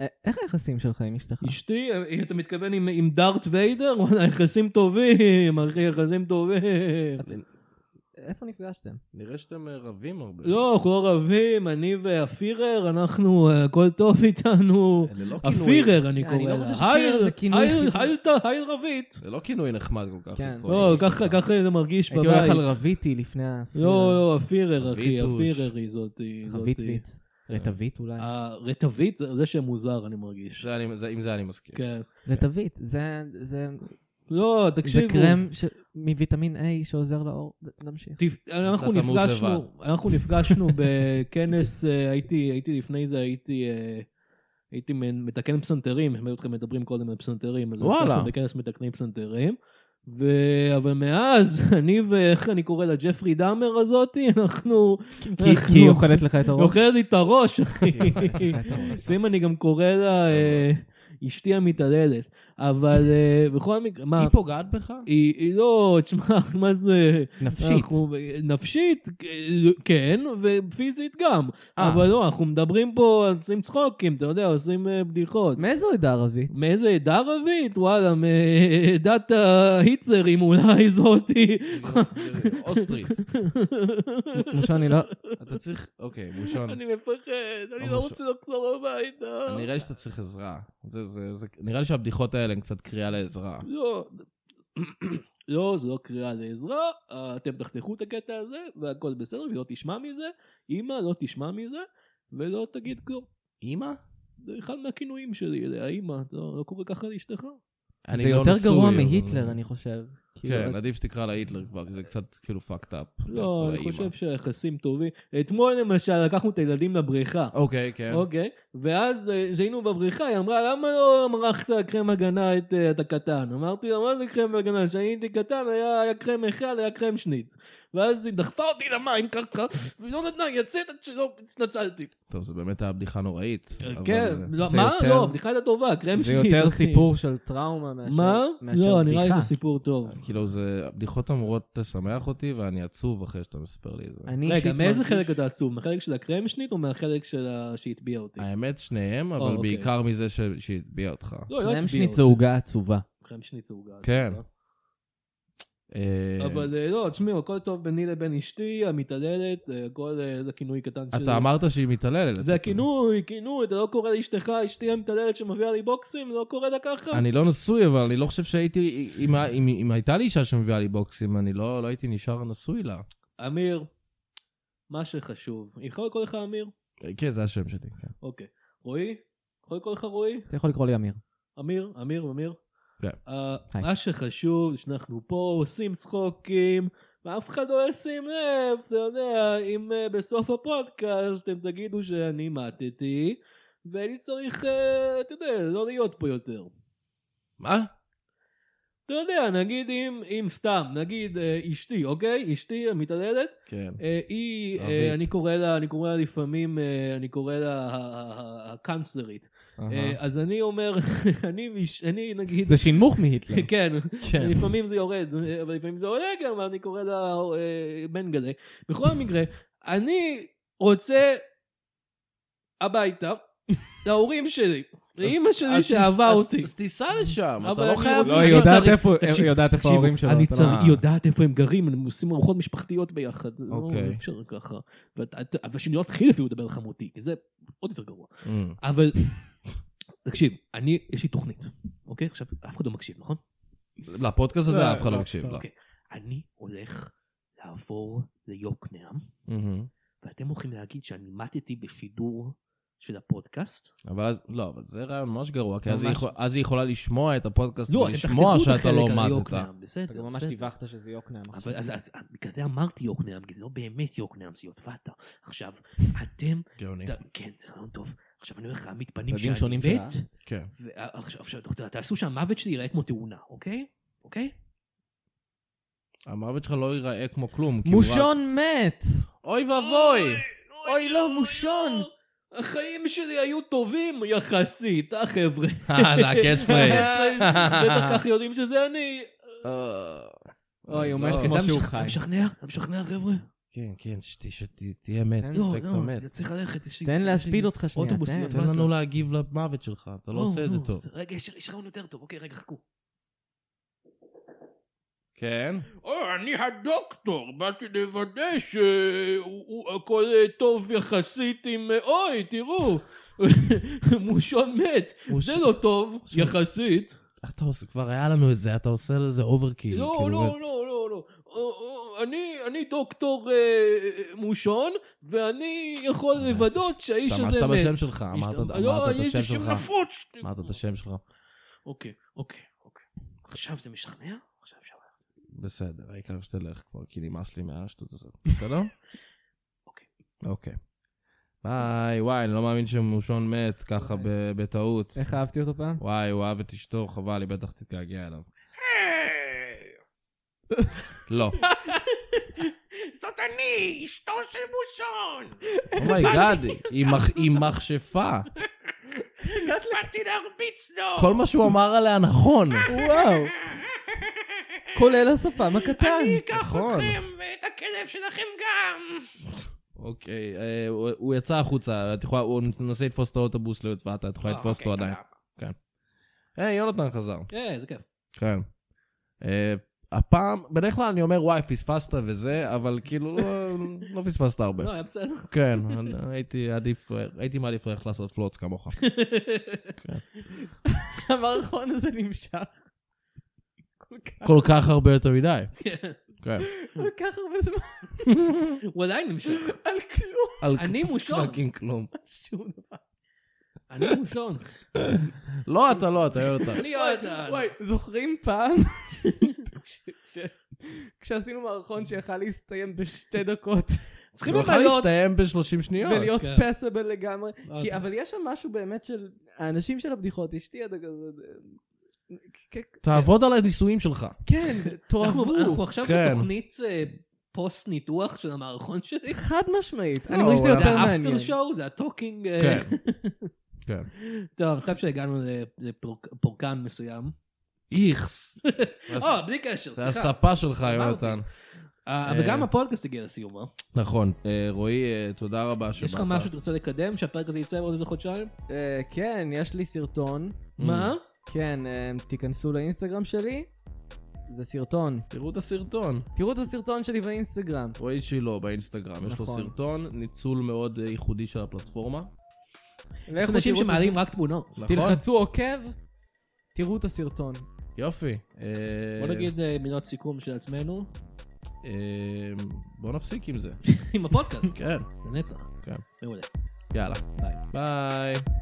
Speaker 5: אה, איך היחסים שלך עם אשתך?
Speaker 3: אשתי, אה, אתה מתכוון עם, עם דארט ויידר? וואלה, יחסים טובים, אחי, יחסים טובים.
Speaker 5: איפה נפגשתם?
Speaker 2: נראה שאתם אה, רבים הרבה.
Speaker 3: לא, אנחנו לא רבים, אני והפירר, אנחנו, אה, הכל טוב איתנו.
Speaker 2: אלה לא כינויים.
Speaker 3: הפירר, אני
Speaker 5: אני
Speaker 3: קורא
Speaker 5: לא
Speaker 3: לה.
Speaker 5: חושב שפירר זה
Speaker 3: היי,
Speaker 5: כינוי
Speaker 3: היי,
Speaker 5: חיפוי.
Speaker 3: היי, ת- היי רבית.
Speaker 2: זה לא כינוי נחמד כל כך.
Speaker 5: כן.
Speaker 2: לקרוא
Speaker 3: לא,
Speaker 2: לאשתך.
Speaker 3: ככה ככה זה מרגיש
Speaker 5: הייתי הולך
Speaker 3: בבית.
Speaker 5: על רביטי לפני ה...
Speaker 3: לא, לא, הפירר, אחי,
Speaker 2: רביטוש.
Speaker 3: הפירר היא זאתי. זאתי.
Speaker 5: רביטוויט. רטווית אולי.
Speaker 3: אה. הרטבית, זה זה שם מוזר, אני מרגיש.
Speaker 2: זה אני- זה- עם זה אני מסכים.
Speaker 3: כן.
Speaker 5: רטווית, זה... זה...
Speaker 3: לא,
Speaker 5: זה
Speaker 3: תקשיבו.
Speaker 5: קרם ש- מוויטמין A שעוזר לאור. נמשיך.
Speaker 3: תפ- אנחנו
Speaker 2: אתה תמות
Speaker 3: נפגשנו, אנחנו נפגשנו בכנס, אה, הייתי, הייתי לפני זה, הייתי, אה, הייתי מנ- מתקן פסנתרים, הם היו אתכם מדברים קודם על פסנתרים, אז
Speaker 2: וואלה.
Speaker 3: נפגשנו בכנס מתקנים פסנתרים, ו... אבל מאז, אני ואיך אני קורא לה, ג'פרי דאמר הזאתי, אנחנו,
Speaker 5: כי כי היא אוכלת לך את
Speaker 3: היא
Speaker 5: הראש.
Speaker 3: אוכלת לי את הראש, אחי.
Speaker 5: היא אוכלת לך את הראש.
Speaker 3: לפעמים אני גם קורא לה אה, אשתי המתעללת, אבל אה, בכל מקרה, מה,
Speaker 2: היא פוגעת בך?
Speaker 3: היא היא לא, תשמע, מה זה...
Speaker 5: נפשית.
Speaker 3: אנחנו, נפשית, כן, ופיזית גם.
Speaker 2: אה.
Speaker 3: אבל לא, אנחנו מדברים פה, עושים צחוקים, אתה יודע, עושים אה, בדיחות.
Speaker 5: מאיזו עדה ערבית?
Speaker 3: מאיזה עדה ערבית? וואללה, מעדת ההיטלרים אולי זאתי.
Speaker 2: אוסטרית.
Speaker 5: מושון, אני לא...
Speaker 2: אתה צריך... אוקיי, בושון.
Speaker 3: אני מפחד, אני לא
Speaker 2: ממש-
Speaker 3: רוצה לחזור הביתה.
Speaker 2: נראה לי שאתה צריך עזרה. זה- זה- זה- נראה לי שהבדיחות האלה הן קצת קריאה לעזרה.
Speaker 3: לא. לא, זו לא קריאה לעזרה, אה, אתם תחתכו את הקטע הזה, והכל בסדר, והיא לא תשמע מזה, אמא לא תשמע מזה, ולא תגיד כלום.
Speaker 2: אמא?
Speaker 3: זה אחד מהכינויים שלי, אליה, אמא, אתה לא לא קורא ככה לאשתך?
Speaker 2: אני
Speaker 5: זה
Speaker 2: לא
Speaker 5: יותר
Speaker 2: נשוי,
Speaker 5: גרוע
Speaker 2: אבל-
Speaker 5: מהיטלר, אני חושב. כאילו,
Speaker 2: כן, עדיף שתקרא לה היטלר כבר, כי זה קצת כאילו fucked up.
Speaker 3: לא, אני
Speaker 2: לאמא.
Speaker 3: חושב שהיחסים טובים. אתמול למשל לקחנו את הילדים לבריכה.
Speaker 2: אוקיי, כן.
Speaker 3: אוקיי, ואז אה, כשהיינו בבריכה, היא אמרה, למה לא מרחת קרם הגנה את, אה, את הקטן? אמרתי לה, מה זה קרם הגנה? כשאני הייתי קטן היה, היה קרם אחד, היה קרם שניץ. ואז היא דחפה אותי למים ככה, והיא לא נתנה, היא יצאת עד שלא התנצלתי.
Speaker 2: טוב, זו באמת הייתה בדיחה נוראית. אבל-
Speaker 3: כן, לא,
Speaker 5: זה
Speaker 3: מה?
Speaker 5: יותר-
Speaker 3: לא, הבדיחה הייתה טובה, קרם שניץ.
Speaker 5: זה יותר כאילו
Speaker 3: אחי.
Speaker 5: סיפור של טראומה מאשר
Speaker 3: מה?
Speaker 5: מאשר
Speaker 3: לא, נראה לי
Speaker 5: בדיחה.
Speaker 3: שזה סיפור טוב.
Speaker 2: כאילו, זה... הבדיחות אמורות לשמח אותי, ואני עצוב אחרי שאתה מספר לי את זה.
Speaker 5: אני
Speaker 3: רגע,
Speaker 5: אישית
Speaker 3: מאיזה
Speaker 5: מרגיש-
Speaker 3: חלק אתה עצוב? מהחלק של הקרם שנית או מהחלק של ה- שהטביע אותי?
Speaker 2: האמת, שניהם, אבל
Speaker 3: אוקיי.
Speaker 2: בעיקר מזה ש- שהטביע אותך.
Speaker 3: לא, היא
Speaker 5: קרם
Speaker 3: לא הטביע
Speaker 5: שניץ
Speaker 3: אותי.
Speaker 5: זה עוגה עצובה.
Speaker 3: קרם שנית זה עוגה.
Speaker 2: כן.
Speaker 3: עצובה.
Speaker 2: אה,
Speaker 3: אבל אה, לא, תשמעו, הכל טוב ביני לבין אשתי, המתעללת, אה, הכל אה, זה כינוי קטן שלי.
Speaker 2: אתה אמרת שהיא מתעללת.
Speaker 3: זה הכינוי, כינוי, אתה לא קורא לאשתך, אשתי המתעללת שמביאה לי בוקסים, לא קורא לה ככה?
Speaker 2: אני לא נשוי, אבל אני לא חושב שהייתי... אם, אם, אם הייתה לי אישה שמביאה לי בוקסים, אני לא, לא הייתי נשאר נשוי לה.
Speaker 3: אמיר, מה שחשוב, אני יכול לקרוא לך אמיר?
Speaker 2: אה, כן, זה השם שלי, כן.
Speaker 3: אוקיי. רועי? יכול לקרוא לך רועי?
Speaker 5: אתה יכול לקרוא לי אמיר.
Speaker 3: אמיר, אמיר, אמיר.
Speaker 2: כן.
Speaker 3: אה,
Speaker 5: היי.
Speaker 3: מה שחשוב, שאנחנו פה עושים צחוקים, ואף אחד לא ישים לב, אתה יודע, אם אה, בסוף הפודקאסט אתם תגידו שאני מתתי, ואני צריך, אה, אתה יודע, לא להיות פה יותר.
Speaker 2: מה?
Speaker 3: אתה אתה יודע, נגיד אם, אם סתם, נגיד אה, אשתי, אוקיי? אשתי המתעללת,
Speaker 2: כן.
Speaker 3: אה, היא, אה,
Speaker 2: ערבית.
Speaker 3: אני קורא לה, אני קורא לה לפעמים, אה, אני קורא לה ה- ה- ה- הקאנצלרית. אה, אז אני אומר, אני, מש- אני נגיד,
Speaker 5: זה שינמוך מהיטלר. לא,
Speaker 3: כן,
Speaker 2: כן.
Speaker 3: לפעמים זה יורד, אה, אבל לפעמים זה עולה גם, אני קורא לה אה, בן גלה. בכל מקרה, אני רוצה הביתה, להורים שלי, לאימא שלי
Speaker 2: אז
Speaker 3: שאהבה
Speaker 2: תס-
Speaker 3: אותי.
Speaker 2: אז- אז תיסע לשם, אתה
Speaker 3: אבל
Speaker 2: לא
Speaker 3: אני
Speaker 2: חייב...
Speaker 3: רוצה-
Speaker 5: לא, היא
Speaker 3: אני
Speaker 5: יודעת
Speaker 3: צריך-
Speaker 5: איפה-
Speaker 3: תקשיב,
Speaker 5: היא יודעת איפה
Speaker 3: תקשיב,
Speaker 5: ההורים שלו.
Speaker 3: אני
Speaker 5: אתה לא-
Speaker 3: צריך,
Speaker 2: אה.
Speaker 3: היא יודעת איפה הם גרים, הם עושים ארוחות משפחתיות ביחד. זה לא
Speaker 2: אוקיי.
Speaker 3: אפשר ככה. ואת- את- אבל שאני לא אתחיל אפילו לדבר על חמותי, כי זה עוד יותר גרוע.
Speaker 2: אמ,
Speaker 3: אבל, תקשיב, אני, יש לי תוכנית, אוקיי? עכשיו, אף אחד לא מקשיב, נכון?
Speaker 2: לפודקאסט הזה
Speaker 4: לא,
Speaker 2: אף אחד לא
Speaker 4: לא,
Speaker 2: מקשיב לה.
Speaker 3: אוקיי. אני הולך לעבור ליוקנעם,
Speaker 2: אמ,
Speaker 3: ואתם הולכים להגיד שאני מתתי בשידור של הפודקאסט.
Speaker 2: אבל אז, לא, אבל זה רעיון ממש גרוע, כי אז היא
Speaker 3: ממש.
Speaker 2: יכול- אז היא יכולה לשמוע את הפודקאסט
Speaker 3: לא, אתם
Speaker 2: ולשמוע
Speaker 3: תחטפו את
Speaker 2: שאתה לא
Speaker 3: החלק על
Speaker 2: מתת.
Speaker 3: יוקנעם, בסדר.
Speaker 5: אתה גם ממש
Speaker 3: בסדר.
Speaker 5: דיווחת שזה יוקנעם.
Speaker 3: אבל אז, אז בגלל זה אמרתי יוקנעם, כי זה לא באמת יוקנעם, זה יוטבתה. עכשיו, אתם,
Speaker 2: גאוני.
Speaker 3: ת- כן, זה רעיון טוב. עכשיו אני הולך להעמיד פנים
Speaker 5: צדדים
Speaker 3: שאני
Speaker 5: שונים של
Speaker 3: מת,
Speaker 5: הארץ.
Speaker 2: כן.
Speaker 3: ועכשיו עכשיו, אתה יודע, תעשו שהמוות שלי ייראה כמו תאונה, אוקיי? אוקיי?
Speaker 2: המוות שלך לא ייראה כמו כלום. כי הוא רק-
Speaker 5: מושון מת!
Speaker 2: אוי ואבוי!
Speaker 5: אוי, לא, מושון!
Speaker 3: לא. החיים שלי היו טובים יחסית, אה חבר'ה?
Speaker 2: אה, זה הקאץ' פרייז.
Speaker 3: בטח כך יודעים שזה אני. אוקיי,
Speaker 2: אה,
Speaker 5: אוי, הוא
Speaker 2: לא.
Speaker 5: מת
Speaker 4: אה,
Speaker 5: כמו
Speaker 3: זה
Speaker 5: שהוא
Speaker 3: משכ-
Speaker 5: חי.
Speaker 3: משכנע? זה משכנע חבר'ה?
Speaker 2: כן, כן, שת- שתהיה מת,
Speaker 5: תן-
Speaker 2: תשחק את
Speaker 3: לא,
Speaker 2: המת.
Speaker 3: לא, זה צריך ללכת. יש לי-
Speaker 5: תן
Speaker 3: יש לי
Speaker 5: להספיד אותך שנייה.
Speaker 3: אוטובוס
Speaker 5: תן.
Speaker 3: יוצא.
Speaker 2: תן לנו להגיב למוות שלך, אתה לא עושה את זה טוב.
Speaker 3: רגע, יש יש רעיון יותר טוב. אוקיי, רגע, חכו.
Speaker 2: כן?
Speaker 3: או, אני הדוקטור, באתי לוודא שהכל אה, טוב יחסית עם... אה, אוי, תראו, מושון מת. זה לא טוב, יחסית.
Speaker 2: אתה עושה, כבר היה לנו את זה, אתה עושה לזה אוברקיל.
Speaker 3: לא,
Speaker 2: כאילו,
Speaker 3: לא, לא, לא, לא. או, או, אני, אני דוקטור אה, מושון, ואני יכול לוודות שהאיש הזה מת.
Speaker 2: השתמשת בשם שלך, אה, אמרת-
Speaker 3: השת-
Speaker 2: אמרת
Speaker 3: לא,
Speaker 2: את
Speaker 3: יש
Speaker 2: השם
Speaker 3: לי שם
Speaker 2: שלך.
Speaker 3: נפוץ.
Speaker 2: אמרת את השם שלך.
Speaker 3: אוקיי, אוקיי, אוקיי. עכשיו זה משכנע? עכשיו אפשר.
Speaker 2: בסדר, העיקר שתלך כבר, כי נמאס לי מהשטות הזאת. בסדר?
Speaker 3: אוקיי.
Speaker 2: אוקיי. ביי, וואי, אני לא מאמין שמושון מת ככה ב- בטעות.
Speaker 5: איך אהבתי אותו פעם?
Speaker 2: וואי, הוא אהב את אשתו, חבל, היא בטח תתגעגע אליו.
Speaker 3: אה,
Speaker 2: לא.
Speaker 3: זאת אני, אשתו של מושון!
Speaker 2: אומייגאד, היא מכשפה.
Speaker 3: באתי להרביץ לו!
Speaker 2: כל מה שהוא אמר עליה נכון.
Speaker 5: וואו! כולל השפם הקטן.
Speaker 3: אקח
Speaker 2: נכון.
Speaker 3: ואת הכלב שלכם גם!
Speaker 2: אוקיי, אה, הוא- הוא יצא החוצה, את יכולה, הוא מנסה לתפוס את האוטובוס לא ליוטבתה, את יכולה לתפוס
Speaker 3: אוקיי,
Speaker 2: אותו עדיין. היי, יונתן חזר.
Speaker 3: אה, זה כיף.
Speaker 2: כן. אה, הפעם, בדרך כלל אני אומר, וואי, פספסת וזה, אבל כאילו, לא- לא פספסת הרבה.
Speaker 3: לא, היה בסדר.
Speaker 2: כן, אני- הייתי עדיף, הייתי מעדיף ללכת לעשות פלוץ כמוך.
Speaker 5: המערכון הזה נמשך. כל כך-
Speaker 2: כל כך הרבה יותר מדי.
Speaker 3: כן.
Speaker 2: כן.
Speaker 5: כל כך הרבה זמן
Speaker 3: הוא עדיין נמשך.
Speaker 5: על כלום.
Speaker 2: על
Speaker 3: אני לא- מושון.
Speaker 2: פאקינג כלום.
Speaker 5: שום דבר.
Speaker 3: אני מושון.
Speaker 2: לא, אתה לא, אתה יונתן.
Speaker 3: אני יודע.
Speaker 5: וואי, זוכרים פעם? כש- כש- כשעשינו מערכון שיכל להסתיים בשתי דקות
Speaker 3: צריכים
Speaker 2: הוא יכול
Speaker 3: לבלות.
Speaker 2: להסתיים ב-30 שניות.
Speaker 5: ולהיות
Speaker 3: כן.
Speaker 5: פסבל לגמרי. כי- אבל יש שם משהו באמת של האנשים של הבדיחות, אשתי עד כזה... כ-
Speaker 2: תעבוד על הניסויים שלך.
Speaker 3: אה.
Speaker 5: כן,
Speaker 3: אנחנו אנחנו
Speaker 5: תאהבו.
Speaker 3: עכשיו
Speaker 2: כן.
Speaker 3: בתוכנית אה, פוסט ניתוח של המערכון שלי.
Speaker 5: חד משמעית.
Speaker 2: לא,
Speaker 5: אני מרגיש שזה
Speaker 2: אבל
Speaker 5: יותר
Speaker 3: זה האפטר
Speaker 5: מעניין.
Speaker 3: שואו, זה הטוקינג. אה,
Speaker 2: כן. כן.
Speaker 3: טוב, אני חושב שהגענו ל- לפורקן מסוים.
Speaker 2: איכס.
Speaker 3: אה, בלי קשר,
Speaker 2: זה
Speaker 3: סליחה.
Speaker 2: הספה שלך,
Speaker 3: אמרתי.
Speaker 2: יונתן.
Speaker 3: אה, וגם הפודקאסט הגיע לסיום, אה?
Speaker 2: נכון. אה, רועי, אה, תודה רבה שבאת.
Speaker 3: יש לך משהו שתרצה לקדם, שהפרק הזה יצא בעוד איזה חודשיים?
Speaker 5: אה, כן, יש לי סרטון.
Speaker 2: Mm.
Speaker 3: מה?
Speaker 5: כן, אה, תיכנסו לאינסטגרם שלי. זה סרטון.
Speaker 2: תראו את הסרטון.
Speaker 5: תראו את הסרטון שלי באינסטגרם.
Speaker 2: רועי שילה באינסטגרם. יש לו
Speaker 5: נכון.
Speaker 2: סרטון, ניצול מאוד אה, ייחודי של הפלטפורמה.
Speaker 5: לכו
Speaker 3: יש אנשים
Speaker 5: תראו את
Speaker 3: שמעלים רק תמונות.
Speaker 5: הסרטון.
Speaker 2: נכון?
Speaker 5: תלחצו עוקב, תראו את הסרטון.
Speaker 2: יופי. אה,
Speaker 3: בוא נגיד אה, מילות סיכום של עצמנו,
Speaker 2: אה, בוא נפסיק עם זה.
Speaker 3: עם הפודקאסט,
Speaker 2: כן.
Speaker 3: לנצח.
Speaker 2: כן.
Speaker 3: מעולה.
Speaker 2: יאללה.
Speaker 3: ביי.
Speaker 2: ביי.